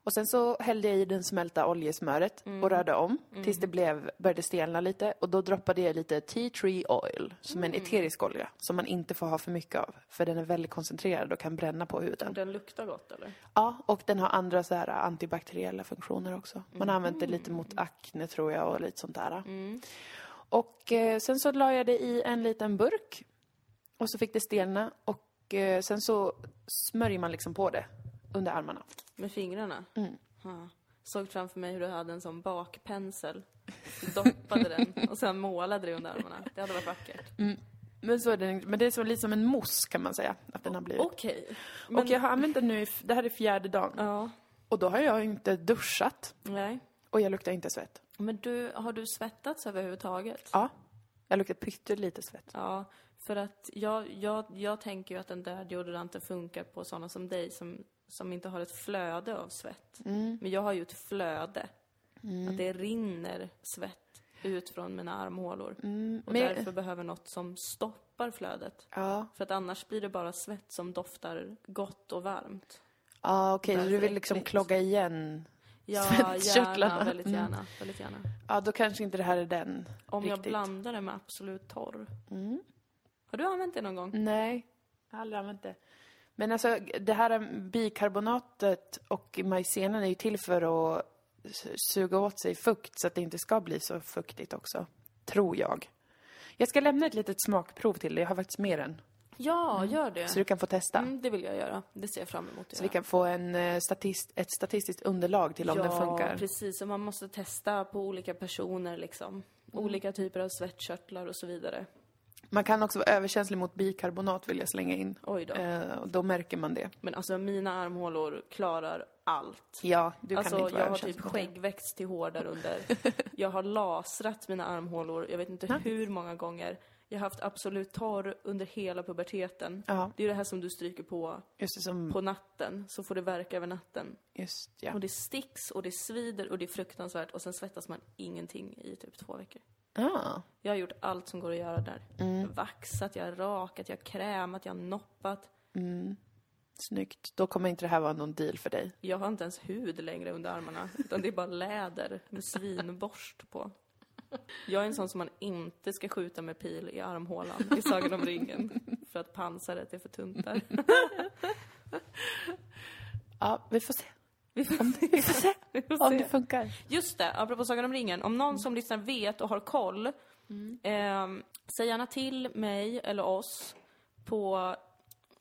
[SPEAKER 2] Och sen så hällde jag i den smälta oljesmöret och rörde om tills det blev, började stelna lite. Och då droppade jag lite tea tree oil, som är en eterisk olja, som man inte får ha för mycket av. För den är väldigt koncentrerad och kan bränna på huden.
[SPEAKER 1] Den luktar gott eller?
[SPEAKER 2] Ja, och den har andra så här antibakteriella funktioner också. Man har använt det lite mot akne tror jag och lite sånt där. Och eh, sen så la jag det i en liten burk och så fick det stelna och eh, sen så smörjer man liksom på det under armarna.
[SPEAKER 1] Med fingrarna?
[SPEAKER 2] Mm.
[SPEAKER 1] Ha. Såg framför mig hur du hade en sån bakpensel. Du Doppade den och sen målade det under armarna. Det hade varit vackert.
[SPEAKER 2] Mm. Men, så är den, men det är så lite som en mousse kan man säga att den har blivit. Och,
[SPEAKER 1] Okej. Men,
[SPEAKER 2] jag har använt den nu, i f- det här är fjärde dagen.
[SPEAKER 1] Ja,
[SPEAKER 2] Och då har jag inte duschat
[SPEAKER 1] nej.
[SPEAKER 2] och jag luktar inte svett.
[SPEAKER 1] Men du, har du svettats överhuvudtaget?
[SPEAKER 2] Ja, jag luktar pyttelite svett.
[SPEAKER 1] Ja, för att jag, jag, jag tänker ju att den där deodoranten funkar på sådana som dig som, som inte har ett flöde av svett.
[SPEAKER 2] Mm.
[SPEAKER 1] Men jag har ju ett flöde. Att det rinner svett ut från mina armhålor. och
[SPEAKER 2] Mm. men-
[SPEAKER 1] därför behöver något som stoppar flödet.
[SPEAKER 2] Ja,
[SPEAKER 1] För att annars blir det bara svett som doftar gott och varmt.
[SPEAKER 2] ja okej, så
[SPEAKER 1] Därför
[SPEAKER 2] du vill liksom
[SPEAKER 1] äckligt.
[SPEAKER 2] klogga igen
[SPEAKER 1] Ja,
[SPEAKER 2] Svettkörtlarna.
[SPEAKER 1] gärna, väldigt gärna, väldigt gärna.
[SPEAKER 2] Ja, då kanske inte det här är den.
[SPEAKER 1] Om jag
[SPEAKER 2] riktigt. Mm.
[SPEAKER 1] blandar det med Absolut Torr. Har du använt det någon gång?
[SPEAKER 2] Nej, jag har aldrig använt det. Men alltså, det här bikarbonatet och majsenen är ju till för att su- suga åt sig fukt så att det inte ska bli så fuktigt också. Tror jag. Jag ska lämna ett litet smakprov till dig. Jag har faktiskt med den.
[SPEAKER 1] Ja, gör det.
[SPEAKER 2] Mm. Så du kan få testa.
[SPEAKER 1] Mm, det vill jag göra. Det ser jag fram emot att
[SPEAKER 2] Så vi
[SPEAKER 1] göra.
[SPEAKER 2] kan få en, eh, statist, ett statistiskt underlag till om den funkar.
[SPEAKER 1] precis. Och man måste testa på olika personer liksom.
[SPEAKER 2] Mm.
[SPEAKER 1] Olika typer av svettkörtlar och så vidare.
[SPEAKER 2] Man kan också vara överkänslig mot bikarbonat vill jag slänga in.
[SPEAKER 1] Oj då.
[SPEAKER 2] Eh, och då märker man det.
[SPEAKER 1] Men alltså mina armhålor klarar allt.
[SPEAKER 2] Ja, du kan
[SPEAKER 1] Alltså
[SPEAKER 2] inte vara
[SPEAKER 1] jag har
[SPEAKER 2] överkänslig
[SPEAKER 1] typ
[SPEAKER 2] mot det.
[SPEAKER 1] skäggväxt till hår där under. Jag har lasrat mina armhålor, jag vet inte hur många gånger. Jag har haft absolut torr under hela puberteten.
[SPEAKER 2] Ja,
[SPEAKER 1] Det är ju det här som du stryker på
[SPEAKER 2] just det som...
[SPEAKER 1] på natten, så får det verka över natten.
[SPEAKER 2] Just, ja.
[SPEAKER 1] Och det sticks och det svider och det är fruktansvärt och sen svettas man ingenting i typ två veckor.
[SPEAKER 2] Ah.
[SPEAKER 1] Jag har gjort allt som går att göra där. Jag har vaxat, jag har rakat, jag har krämat, jag har noppat.
[SPEAKER 2] Snyggt. Då kommer inte det här vara någon deal för dig.
[SPEAKER 1] Jag har inte ens hud längre under armarna, utan det är bara läder med svinborst på. Jag är en sån som man inte ska skjuta med pil i armhålan i Sagan om ringen, för att pansaret är för tunt där.
[SPEAKER 2] Ja, vi får se.
[SPEAKER 1] Vi får-
[SPEAKER 2] Vi får se
[SPEAKER 1] vi får
[SPEAKER 2] om
[SPEAKER 1] se.
[SPEAKER 2] det funkar.
[SPEAKER 1] Just det, apropå Sagan om ringen. Om någon som lyssnar vet och har koll, ehm, säg gärna till mig eller oss på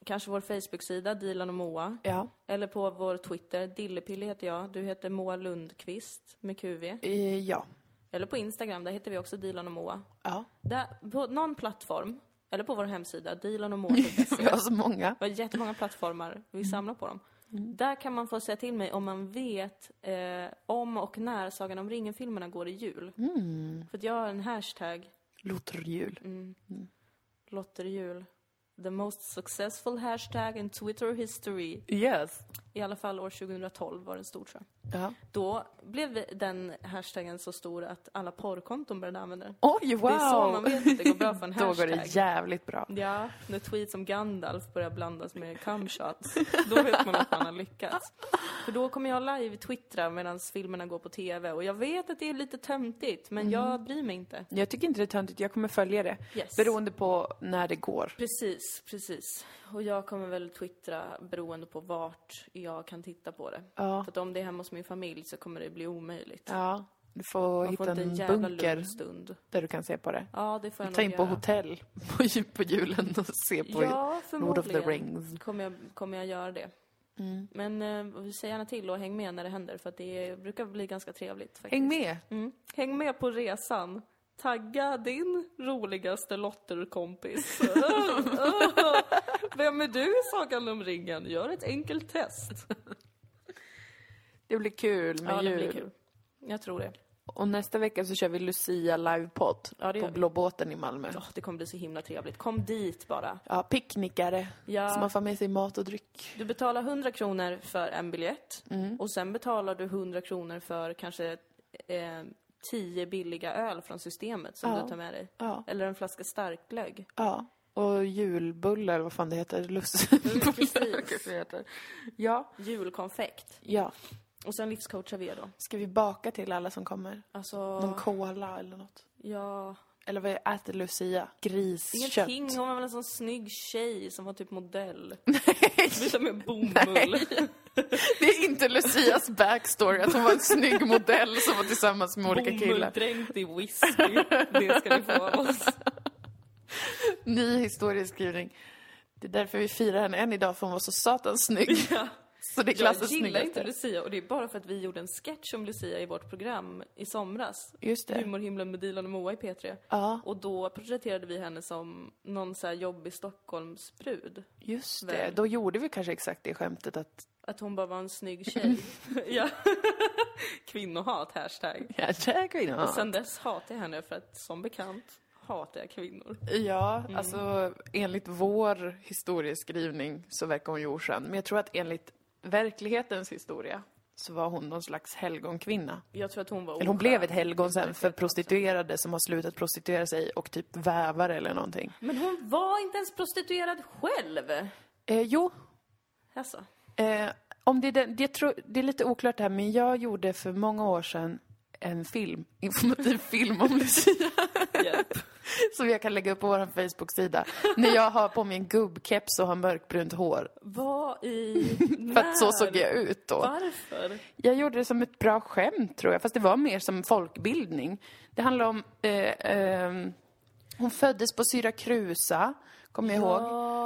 [SPEAKER 1] kanske vår Facebook-sida, Dilan och Moa.
[SPEAKER 2] Ja.
[SPEAKER 1] Eller på vår Twitter, Dillepilli heter jag. Du heter Moa Lundqvist med QV.
[SPEAKER 2] Eh, Ja.
[SPEAKER 1] Eller på Instagram, där heter vi också Dilan och Moa.
[SPEAKER 2] Ja.
[SPEAKER 1] Där, på någon plattform, eller på vår hemsida,
[SPEAKER 2] Vi
[SPEAKER 1] dilanomoa.se.
[SPEAKER 2] har så många.
[SPEAKER 1] Vi har jättemånga plattformar, vi samlar på dem. Där kan man få säga till mig om man vet eh, om och när Sagan om ringen-filmerna går i jul.
[SPEAKER 2] Mm.
[SPEAKER 1] För att jag har en hashtag,
[SPEAKER 2] Lotterjul.
[SPEAKER 1] lotterjul. The most successful hashtag in Twitter history.
[SPEAKER 2] Yes.
[SPEAKER 1] I alla fall år 2012 var den stor tror jag.
[SPEAKER 2] Ja.
[SPEAKER 1] Då blev den hashtaggen så stor att alla porrkonton började använda den.
[SPEAKER 2] Oj, wow!
[SPEAKER 1] Det är så man vet att det går bra för en
[SPEAKER 2] Då går det
[SPEAKER 1] hashtag.
[SPEAKER 2] jävligt bra.
[SPEAKER 1] Ja, när tweets om Gandalf börjar blandas med cumshots, då vet man att man har lyckats. För då kommer jag live twittra medan filmerna går på TV och jag vet att det är lite töntigt, men
[SPEAKER 2] Mm.
[SPEAKER 1] jag bryr mig inte.
[SPEAKER 2] Jag tycker inte det är töntigt, jag kommer följa det.
[SPEAKER 1] Yes.
[SPEAKER 2] Beroende på när det går.
[SPEAKER 1] Precis, precis. Och jag kommer väl twittra beroende på vart jag kan titta på det.
[SPEAKER 2] Ja.
[SPEAKER 1] För att om det är hemma hos min familj så kommer det bli omöjligt.
[SPEAKER 2] Ja. Du får
[SPEAKER 1] Man
[SPEAKER 2] hitta
[SPEAKER 1] får inte en
[SPEAKER 2] en
[SPEAKER 1] jävla
[SPEAKER 2] bunker
[SPEAKER 1] lugn stund.
[SPEAKER 2] där du kan se på det.
[SPEAKER 1] Ja, det får jag
[SPEAKER 2] Ta
[SPEAKER 1] nog
[SPEAKER 2] in på
[SPEAKER 1] göra.
[SPEAKER 2] hotell på, ju- på julen och se på
[SPEAKER 1] Ja,
[SPEAKER 2] Lord of the
[SPEAKER 1] förmodligen
[SPEAKER 2] Rings.
[SPEAKER 1] kommer jag, kommer jag göra det. Men eh, säg gärna till och häng med när det händer för att det brukar bli ganska trevligt. Faktiskt.
[SPEAKER 2] Häng med!
[SPEAKER 1] Mm. häng med på resan. Tagga din roligaste lotterkompis. Öh, öh. Vem är du i Sagan om ringen? Gör ett enkelt test.
[SPEAKER 2] Det blir kul med
[SPEAKER 1] Ja, det
[SPEAKER 2] jul.
[SPEAKER 1] blir kul. Jag tror det.
[SPEAKER 2] Och nästa vecka så kör vi Lucia livepodd
[SPEAKER 1] Ja, det gör
[SPEAKER 2] på
[SPEAKER 1] vi.
[SPEAKER 2] Blå båten i Malmö.
[SPEAKER 1] Åh, det kommer bli så himla trevligt. Kom dit bara.
[SPEAKER 2] Ja, picknickare.
[SPEAKER 1] Ja.
[SPEAKER 2] Så man får med sig mat och dryck.
[SPEAKER 1] Du betalar 100 kronor för en biljett
[SPEAKER 2] Mm.
[SPEAKER 1] och sen betalar du 100 kronor för kanske eh, 10 billiga öl från systemet som
[SPEAKER 2] Ja.
[SPEAKER 1] du tar med dig.
[SPEAKER 2] Ja.
[SPEAKER 1] Eller en flaska starkglögg.
[SPEAKER 2] Ja. Och julbullar, eller vad fan det heter.
[SPEAKER 1] Mm.
[SPEAKER 2] Lussebullar
[SPEAKER 1] precis.
[SPEAKER 2] kanske det heter. Ja.
[SPEAKER 1] Julkonfekt.
[SPEAKER 2] Ja.
[SPEAKER 1] Och sen livscoachar vi er då.
[SPEAKER 2] Ska vi baka till alla som kommer?
[SPEAKER 1] Alltså,
[SPEAKER 2] Någon cola eller något?
[SPEAKER 1] ja...
[SPEAKER 2] Eller vad äter Lucia? Griskött?
[SPEAKER 1] Ingenting, hon var väl en sån snygg tjej som var typ modell. Sluta med bomull.
[SPEAKER 2] Det är inte Lucias backstory att hon var en snygg modell som var tillsammans med olika killar.
[SPEAKER 1] Bomulldränkt i whisky. Det ska ni få av oss.
[SPEAKER 2] Ny historieskrivning. Det är därför vi firar henne än idag, för hon var så satans snygg. Så det är klassens
[SPEAKER 1] jag gillar
[SPEAKER 2] snyggaste.
[SPEAKER 1] inte Lucia och det är bara för att vi gjorde en sketch om Lucia i vårt program i somras.
[SPEAKER 2] Just det.
[SPEAKER 1] Humorhimlen med Dilan och Moa i P3.
[SPEAKER 2] Ja.
[SPEAKER 1] Och då porträtterade vi henne som någon så här jobbig Stockholmsbrud.
[SPEAKER 2] Just det,
[SPEAKER 1] Väl.
[SPEAKER 2] då gjorde vi kanske exakt det skämtet att
[SPEAKER 1] Att hon bara var en snygg tjej. ja. Kvinnohat, hashtag.
[SPEAKER 2] ja, där kvinna.
[SPEAKER 1] Och sen dess hatar jag henne för att som bekant hatar jag kvinnor.
[SPEAKER 2] Ja,
[SPEAKER 1] Mm.
[SPEAKER 2] alltså enligt vår historieskrivning så verkar hon ju oskön. Men jag tror att enligt verklighetens historia så var hon någon slags helgonkvinna.
[SPEAKER 1] Jag tror att hon var
[SPEAKER 2] Eller hon
[SPEAKER 1] oskön.
[SPEAKER 2] blev ett helgon sen för prostituerade som har slutat prostituera sig och typ vävare eller någonting.
[SPEAKER 1] Men hon var inte ens prostituerad själv!
[SPEAKER 2] Eh, jo,
[SPEAKER 1] Alltså.
[SPEAKER 2] eh, om det, är den, det, tror, det är lite oklart det här men jag gjorde för många år sedan en film, informativ film om Lucia.
[SPEAKER 1] Hjälp.
[SPEAKER 2] Som jag kan lägga upp på vår Facebook-sida. När jag har på mig en gubbkeps och har mörkbrunt hår.
[SPEAKER 1] Vad i...
[SPEAKER 2] För att så såg jag ut då.
[SPEAKER 1] Varför?
[SPEAKER 2] Jag gjorde det som ett bra skämt tror jag, fast det var mer som folkbildning. Det handlar om... Eh, ehm, hon föddes på Syrakrusa, kommer jag ihåg.
[SPEAKER 1] Ja.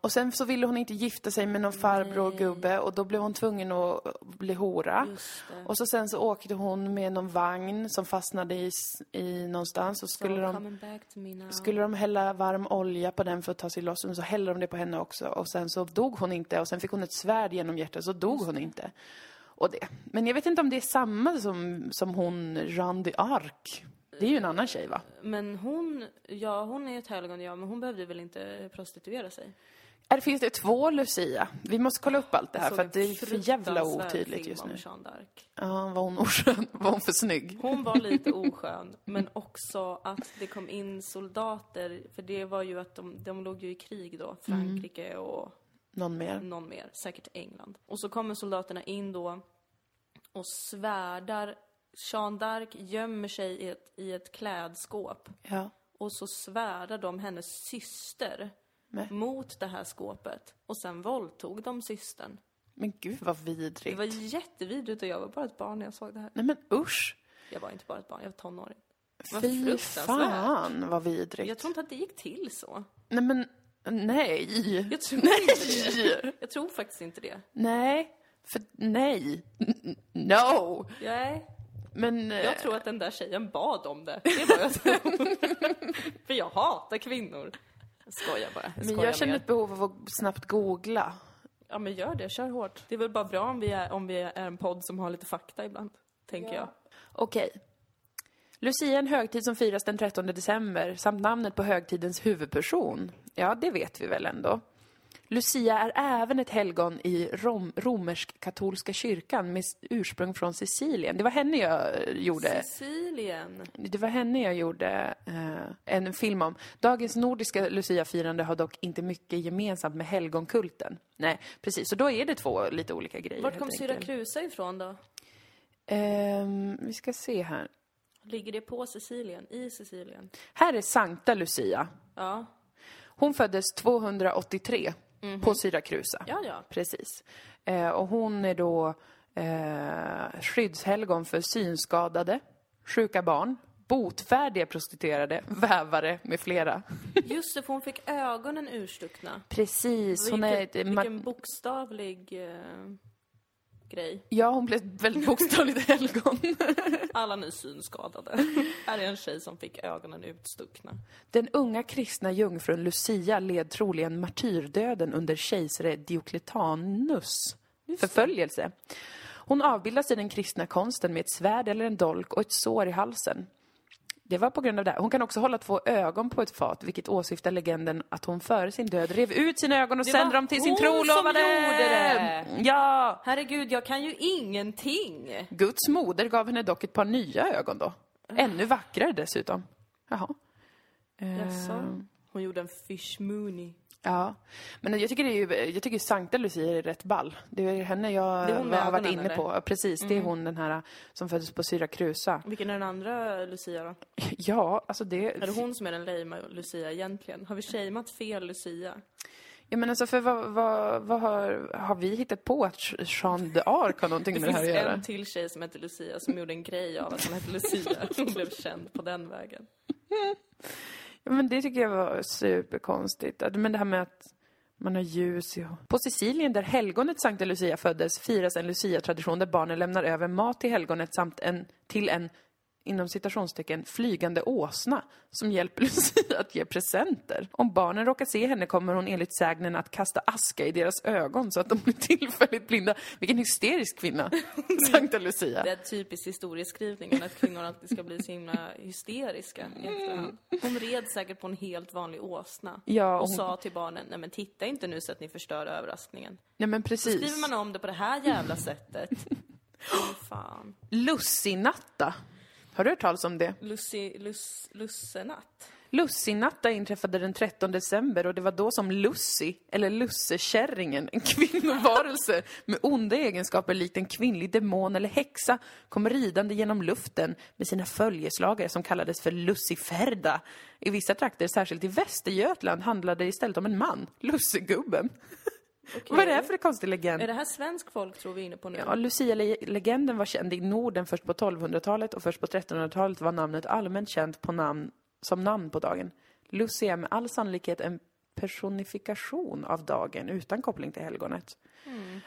[SPEAKER 2] Och sen så ville hon inte gifta sig med någon farbror och gubbe och då blev hon tvungen att bli hora.
[SPEAKER 1] Just det.
[SPEAKER 2] Och så sen så åkte hon med någon vagn som fastnade i, s- i någonstans och skulle de...
[SPEAKER 1] Coming back to me now.
[SPEAKER 2] Skulle de hälla varm olja på den för att ta sig loss, men så hällde de det på henne också. Och sen så dog hon inte och sen fick hon ett svärd genom hjärtat, så dog hon inte. Och det. Men jag vet inte om det är samma som, som hon Randy Ark. Det är ju en annan tjej va?
[SPEAKER 1] Men hon, ja hon är ju ett helgon ja, men hon behövde väl inte prostituera sig?
[SPEAKER 2] Eller finns det två Lucia? Vi måste kolla upp allt det här
[SPEAKER 1] Såg
[SPEAKER 2] för att det är
[SPEAKER 1] en
[SPEAKER 2] för jävla
[SPEAKER 1] Alltså, fruktansvärd
[SPEAKER 2] otydligt
[SPEAKER 1] film
[SPEAKER 2] just
[SPEAKER 1] om
[SPEAKER 2] nu.
[SPEAKER 1] Jeanne d'Arc.
[SPEAKER 2] Ja, var hon oskön? Var hon för snygg?
[SPEAKER 1] Hon var lite oskön, men också att det kom in soldater, för det var ju att de, de låg ju i krig då, Frankrike och
[SPEAKER 2] Någon mer?
[SPEAKER 1] någon mer, säkert England. Och så kommer soldaterna in då och svärdar. Jeanne d'Arc gömmer sig i ett, i ett klädskåp.
[SPEAKER 2] Ja.
[SPEAKER 1] Och så svärdar de hennes syster
[SPEAKER 2] Nej.
[SPEAKER 1] mot det här skåpet. Och sen våldtog de systern.
[SPEAKER 2] Men gud vad
[SPEAKER 1] Det
[SPEAKER 2] vidrigt.
[SPEAKER 1] var jättevidrigt och jag var bara ett barn när jag såg det här.
[SPEAKER 2] Nej men usch!
[SPEAKER 1] Jag var inte bara ett barn, jag var tonåring. Vad
[SPEAKER 2] Fy
[SPEAKER 1] fruktansvärt.
[SPEAKER 2] fan vad vidrigt.
[SPEAKER 1] Jag tror inte att det gick till så.
[SPEAKER 2] Nej men Nej.
[SPEAKER 1] Jag tror,
[SPEAKER 2] Nej!
[SPEAKER 1] jag tror faktiskt inte det.
[SPEAKER 2] Nej. För nej. N- No.
[SPEAKER 1] Nej.
[SPEAKER 2] Men... eh,
[SPEAKER 1] Jag tror att den där tjejen bad om det. Det var jag tror. För jag hatar kvinnor. Jag skojar bara. Jag
[SPEAKER 2] men
[SPEAKER 1] skojar
[SPEAKER 2] jag känner
[SPEAKER 1] med
[SPEAKER 2] ett behov av att snabbt googla.
[SPEAKER 1] er. Ja men gör det, kör hårt. Det är väl bara bra om vi är, om vi är en podd som har lite fakta ibland. Tänker jag.
[SPEAKER 2] Okej. Lucia är en högtid som firas den 13 december samt namnet på högtidens huvudperson. Ja, det vet vi väl ändå. Lucia är även ett helgon i rom, romersk-katolska kyrkan med s- ursprung från Sicilien. Det var henne jag eh, gjorde
[SPEAKER 1] Sicilien.
[SPEAKER 2] det var henne jag gjorde eh, en film om. Dagens nordiska luciafirande har dock inte mycket gemensamt med helgonkulten. Nej, precis. Så då är det två lite olika grejer.
[SPEAKER 1] Vart
[SPEAKER 2] helt
[SPEAKER 1] kom
[SPEAKER 2] enkelt.
[SPEAKER 1] Syrakusa ifrån då?
[SPEAKER 2] Ehm, vi ska se här.
[SPEAKER 1] Ligger det på Sicilien? I Sicilien?
[SPEAKER 2] Här är Sankta Lucia.
[SPEAKER 1] Ja.
[SPEAKER 2] Hon föddes 283 på Syrakusa.
[SPEAKER 1] Ja, ja.
[SPEAKER 2] Precis. Eh, och hon är då eh, skyddshelgon för synskadade, sjuka barn, botfärdiga prostituerade, vävare med flera.
[SPEAKER 1] Just det, för hon fick ögonen urstuckna.
[SPEAKER 2] Precis, hon är...
[SPEAKER 1] vilken,
[SPEAKER 2] ma-
[SPEAKER 1] vilken bokstavlig eh, grej.
[SPEAKER 2] ja, hon blev väldigt bokstavligt helgon.
[SPEAKER 1] Alla nu synskadade. Här är en tjej som fick ögonen utstuckna.
[SPEAKER 2] Den unga kristna jungfrun Lucia led troligen martyrdöden under kejsare Diocletianus förföljelse. Hon avbildas i den kristna konsten med ett svärd eller en dolk och ett sår i halsen. Det var på grund av det. här. Hon kan också hålla två ögon på ett fat, vilket åsyftar legenden att hon före sin död rev ut sina ögon och
[SPEAKER 1] Det
[SPEAKER 2] sände
[SPEAKER 1] var
[SPEAKER 2] dem till sin
[SPEAKER 1] hon som
[SPEAKER 2] trolovade!
[SPEAKER 1] gjorde det!
[SPEAKER 2] Ja!
[SPEAKER 1] Herregud, jag kan ju ingenting!
[SPEAKER 2] Guds moder gav henne dock ett par nya ögon då.
[SPEAKER 1] Ah.
[SPEAKER 2] Ännu vackrare dessutom. Jaha. Ehm,
[SPEAKER 1] Jaså? Hon gjorde en fish mooney.
[SPEAKER 2] Ja. Men jag tycker, det är ju, jag tycker Sankta Lucia är rätt ball. Det är henne jag
[SPEAKER 1] Det är hon Mm. med
[SPEAKER 2] har varit
[SPEAKER 1] ögonen,
[SPEAKER 2] inne på. Ja, Precis, det är hon den här som föddes på Syrakusa.
[SPEAKER 1] Vilken är den andra Lucia då?
[SPEAKER 2] Ja, alltså det...
[SPEAKER 1] Är det hon som är den lame Lucia egentligen? Har vi shameat fel Lucia?
[SPEAKER 2] Ja, men alltså för vad, vad, vad har, har vi hittat på att Jean d'Arc har någonting
[SPEAKER 1] Det
[SPEAKER 2] med det
[SPEAKER 1] finns
[SPEAKER 2] här att göra?
[SPEAKER 1] en till tjej som heter Lucia som gjorde en grej av att hon hette Lucia. Hon blev känd på den vägen.
[SPEAKER 2] Ja, men det tycker jag var superkonstigt. Att- Men det här med att man har ljus i... På Sicilien, där helgonet Sankta Lucia föddes, firas en Lucia-tradition där barnen lämnar över mat till helgonet samt en, till en, inom citationstecken, flygande åsna som hjälper Lucia att ge presenter. Om barnen råkar se henne kommer hon enligt sägnen att kasta aska i deras ögon så att de blir tillfälligt blinda. Vilken hysterisk kvinna, Sankta Lucia.
[SPEAKER 1] Det är typiskt historieskrivningen, att kvinnor alltid ska bli så himla hysteriska i efterhand. Hon red säkert på en helt vanlig åsna.
[SPEAKER 2] Ja,
[SPEAKER 1] och
[SPEAKER 2] hon-
[SPEAKER 1] sa till barnen, nej men titta inte nu så att ni förstör överraskningen.
[SPEAKER 2] Nej men precis.
[SPEAKER 1] Skriver man om det på det här jävla sättet? Fy fan.
[SPEAKER 2] Lussinatta. Har du hört talas om det?
[SPEAKER 1] Lussi, lus, lussenatt?
[SPEAKER 2] Lussinatta inträffade den 13 december och det var då som Lucy, eller Lussekärringen, en kvinnovarelse med onda egenskaper likt en kvinnlig demon eller häxa, kom ridande genom luften med sina följeslagare som kallades för Luciferda. I vissa trakter, särskilt i Västergötland, handlade det istället om en man, Lussegubben. Vad är det här för konstig legend?
[SPEAKER 1] Är det här svensk folk tror vi är inne på nu?
[SPEAKER 2] Ja, Lucia-legenden var känd i Norden först på 1200-talet och först på 1300-talet var namnet allmänt känt på namn, som namn på dagen. Lucia är med all sannolikhet en personifikation av dagen utan koppling till helgonet.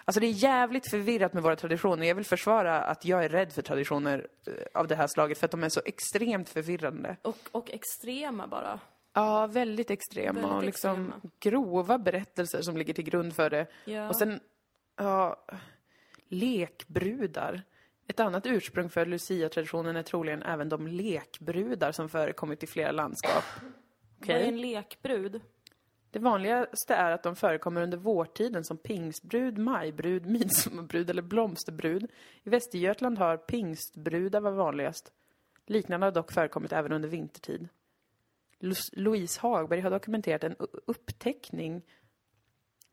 [SPEAKER 2] Alltså det är jävligt förvirrat med våra traditioner. Jag vill försvara att jag är rädd för traditioner eh, av det här slaget för att de är så extremt förvirrande.
[SPEAKER 1] Och, och extrema bara.
[SPEAKER 2] Ja, väldigt extrema
[SPEAKER 1] Väldigt
[SPEAKER 2] och liksom
[SPEAKER 1] extrema.
[SPEAKER 2] grova berättelser som ligger till grund för det.
[SPEAKER 1] Ja.
[SPEAKER 2] Och sen, ja, lekbrudar. Ett annat ursprung för Lucia-traditionen är troligen även de lekbrudar som förekommit i flera landskap.
[SPEAKER 1] Vad är
[SPEAKER 2] Okej.
[SPEAKER 1] en lekbrud?
[SPEAKER 2] Det vanligaste är att de förekommer under vårtiden som pingstbrud, majbrud, midsommarbrud eller blomsterbrud. I Västergötland har pingstbrudar var vanligast. Liknande har dock förekommit även under vintertid. Lu- Louise Hagberg har dokumenterat en u- upptäckning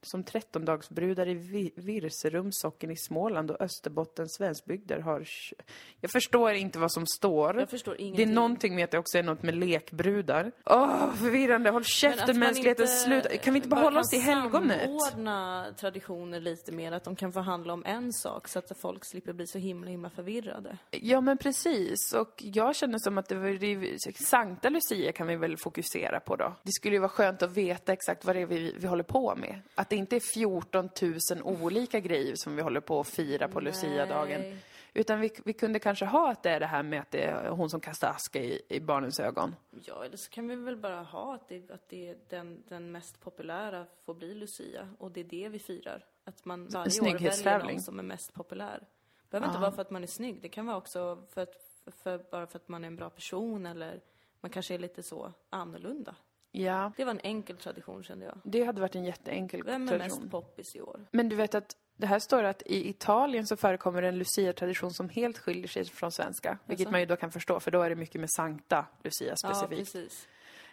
[SPEAKER 2] Som trettondagsbrudar i Vi- Virserum socken i Småland och Österbottens Svensbygder har... tj- Jag förstår inte vad som står.
[SPEAKER 1] Jag förstår
[SPEAKER 2] Det är
[SPEAKER 1] ingenting.
[SPEAKER 2] någonting med att det också är något med lekbrudar. Åh, förvirrande! Håll
[SPEAKER 1] Men att
[SPEAKER 2] käften,
[SPEAKER 1] man
[SPEAKER 2] mänskligheten
[SPEAKER 1] inte
[SPEAKER 2] slutar. Kan vi inte bara hålla oss till helgonet?
[SPEAKER 1] Bara kan samordna traditioner lite mer, att de kan förhandla om en sak så att folk slipper bli så himla, himla förvirrade.
[SPEAKER 2] Ja, men precis. Och jag känner som att det var, det är- Sankta Lucia kan vi väl fokusera på då. Det skulle ju vara skönt att veta exakt vad det är vi, vi håller på med. Att det inte är 14 000 olika grejer som vi håller på att fira på Lucia-dagen.
[SPEAKER 1] Nej.
[SPEAKER 2] Utan vi, vi kunde kanske ha att det är det här med att det är hon som kastar aska i, i barnens ögon.
[SPEAKER 1] Ja, eller så kan vi väl bara ha att det, att det är den, den mest populära får bli Lucia och det är det vi firar. Att man varje år väljer
[SPEAKER 2] snygghetstävling.
[SPEAKER 1] någon som är mest populär. Det behöver inte vara för att man är snygg, det kan vara också för att, för, bara för att man är en bra person eller man kanske är lite så annorlunda.
[SPEAKER 2] Ja,
[SPEAKER 1] Det var en enkel tradition kände jag.
[SPEAKER 2] det hade varit en jätteenkel
[SPEAKER 1] Vem är
[SPEAKER 2] tradition.
[SPEAKER 1] mest poppis i år?
[SPEAKER 2] Men du vet att det här står att i Italien så förekommer en lucia-tradition som helt skiljer sig från svenska. Vilket man ju då kan förstå, för då är det mycket med Sankta Lucia
[SPEAKER 1] Ja,
[SPEAKER 2] specifikt.
[SPEAKER 1] precis.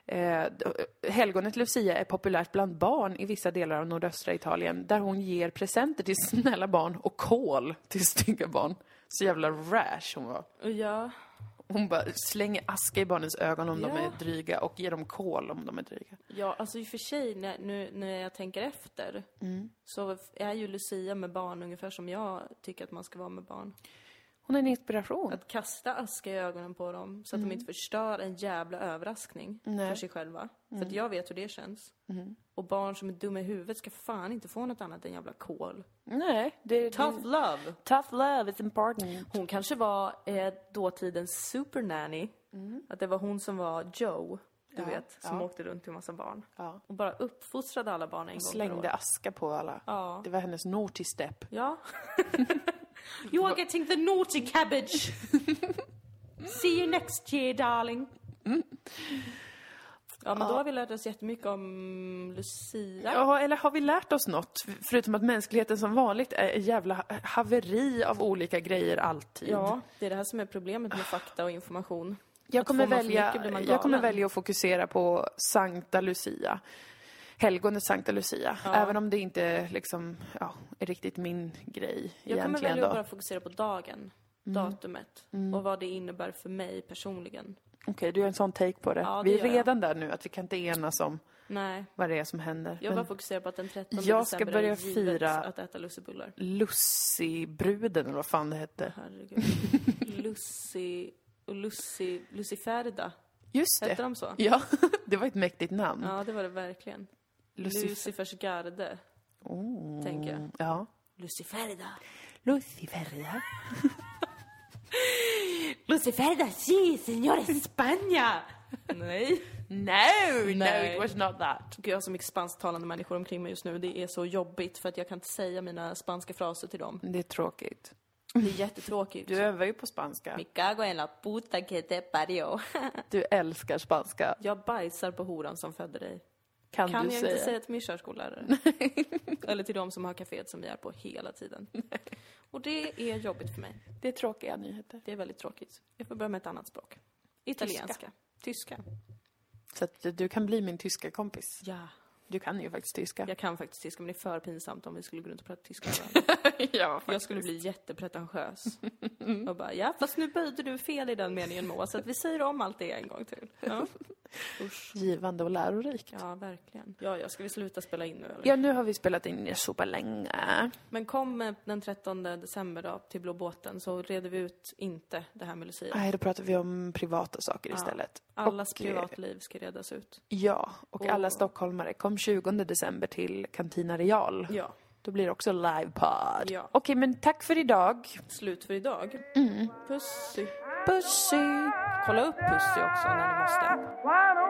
[SPEAKER 2] eh, d- helgonet Lucia är populärt bland barn i vissa delar av nordöstra Italien där hon ger presenter till snälla barn och kol till stygga barn. Så jävla rash hon var.
[SPEAKER 1] Och Ja,
[SPEAKER 2] Hon bara slänger aska i barnens ögon om de
[SPEAKER 1] Ja.
[SPEAKER 2] är dryga och ger dem kol om de är dryga.
[SPEAKER 1] ja, alltså i och för sig när, nu när jag tänker efter så är ju Lucia med barn ungefär som jag tycker att man ska vara med barn.
[SPEAKER 2] Hon är en inspiration.
[SPEAKER 1] Att kasta aska i ögonen på dem så att de inte förstör en jävla överraskning för sig själva. För att jag vet hur det känns. Och barn som är dumma i huvudet ska fan inte få något annat än jävla kol.
[SPEAKER 2] Nej, det är...
[SPEAKER 1] Tough love!
[SPEAKER 2] Tough love is important.
[SPEAKER 1] Hon kanske var eh, dåtidens supernanny. Att det var hon som var Joe, du vet, som åkte runt till en massa barn.
[SPEAKER 2] Ja.
[SPEAKER 1] Och bara uppfostrade alla barn en gång per år.
[SPEAKER 2] Slängde aska på alla.
[SPEAKER 1] Ja.
[SPEAKER 2] Det var hennes naughty step.
[SPEAKER 1] Ja. you are getting the naughty cabbage! See you next year darling! Ja men då har vi lärt oss jättemycket om Lucia.
[SPEAKER 2] Ja, eller har vi lärt oss något? Förutom att mänskligheten som vanligt är ett jävla haveri av olika grejer alltid.
[SPEAKER 1] Ja, det är det här som är problemet med fakta och information.
[SPEAKER 2] Jag
[SPEAKER 1] Att
[SPEAKER 2] kommer,
[SPEAKER 1] får man för
[SPEAKER 2] välja,
[SPEAKER 1] mycket blir man
[SPEAKER 2] jag kommer
[SPEAKER 1] galen.
[SPEAKER 2] välja att fokusera på Sankta Lucia. Helgonet Sankta Lucia. Även om det inte liksom, ja, är riktigt min grej
[SPEAKER 1] Jag kommer
[SPEAKER 2] egentligen
[SPEAKER 1] välja
[SPEAKER 2] då. Mm.
[SPEAKER 1] att bara fokusera på dagen, datumet och vad det innebär för mig personligen.
[SPEAKER 2] Okej, du har en sån take på det.
[SPEAKER 1] Ja, det
[SPEAKER 2] vi är
[SPEAKER 1] gör jag.
[SPEAKER 2] redan där nu, att vi kan inte enas om
[SPEAKER 1] Nej,
[SPEAKER 2] vad det är som händer.
[SPEAKER 1] jag bara
[SPEAKER 2] Men
[SPEAKER 1] fokuserar på att den 13
[SPEAKER 2] Jag ska
[SPEAKER 1] december
[SPEAKER 2] börja
[SPEAKER 1] är givet
[SPEAKER 2] fira-
[SPEAKER 1] att äta lussebullar.
[SPEAKER 2] Lussibruden, eller vad fan det hette.
[SPEAKER 1] Herregud. Lussi... Och Lussi... Luciferda.
[SPEAKER 2] Just det.
[SPEAKER 1] Hette de så?
[SPEAKER 2] Ja, det var ett mäktigt namn.
[SPEAKER 1] Ja, det var det verkligen.
[SPEAKER 2] Lucif-
[SPEAKER 1] Lucifers garde,
[SPEAKER 2] Oh.
[SPEAKER 1] tänker jag.
[SPEAKER 2] Ja.
[SPEAKER 1] Luciferda.
[SPEAKER 2] Luciferia.
[SPEAKER 1] Luciferda, si, signore Spagna! Nej.
[SPEAKER 2] No,
[SPEAKER 1] Nej.
[SPEAKER 2] not that.
[SPEAKER 1] Gud, jag har så mycket spansktalande människor omkring mig just nu. Det är så jobbigt för att jag kan inte säga mina spanska fraser till dem.
[SPEAKER 2] Det är tråkigt.
[SPEAKER 1] Det är jättetråkigt.
[SPEAKER 2] Du övar ju på spanska.
[SPEAKER 1] Mi cago en la puta que te parió.
[SPEAKER 2] Du älskar spanska.
[SPEAKER 1] Jag bajsar på horan som födde dig.
[SPEAKER 2] Kan,
[SPEAKER 1] Kan
[SPEAKER 2] du
[SPEAKER 1] jag
[SPEAKER 2] säga?
[SPEAKER 1] inte säga till min körskollärare? Eller till de som har kaféet som vi är på hela tiden. Och det är jobbigt för mig.
[SPEAKER 2] Det är tråkiga nyheter.
[SPEAKER 1] Det är väldigt tråkigt. Jag får börja med ett annat språk. Italienska. Tyska.
[SPEAKER 2] Så att du kan bli min tyska kompis.
[SPEAKER 1] Ja.
[SPEAKER 2] Du kan ju faktiskt tyska.
[SPEAKER 1] Jag kan faktiskt tyska, men det är för pinsamt om vi skulle gå runt och prata tyska med varandra.
[SPEAKER 2] ja
[SPEAKER 1] Jag skulle bli jättepretentiös. Och bara, ja fast nu böjde du fel i den meningen Moa, så att vi säger om allt det en gång till. Ja,
[SPEAKER 2] Givande och lärorikt. Ja.
[SPEAKER 1] ja verkligen. Ja, ja, ska vi sluta spela in nu eller?
[SPEAKER 2] nu har vi spelat in superlänge.
[SPEAKER 1] Men kom eh, den 13 december då till Blå båten så reder vi ut inte det här med Lucia.
[SPEAKER 2] Nej, då pratar vi om privata saker istället.
[SPEAKER 1] Allas
[SPEAKER 2] Och, eh,
[SPEAKER 1] privatliv ska redas ut.
[SPEAKER 2] Ja, och alla
[SPEAKER 1] Och-
[SPEAKER 2] stockholmare, kom 20 december till Cantina Real.
[SPEAKER 1] Ja.
[SPEAKER 2] Då blir det också livepodd.
[SPEAKER 1] Ja.
[SPEAKER 2] Okej, men tack för idag.
[SPEAKER 1] Slut för idag. Pussy.
[SPEAKER 2] Pussy!
[SPEAKER 1] Kolla upp Pussy också när ni måste.
[SPEAKER 3] Why do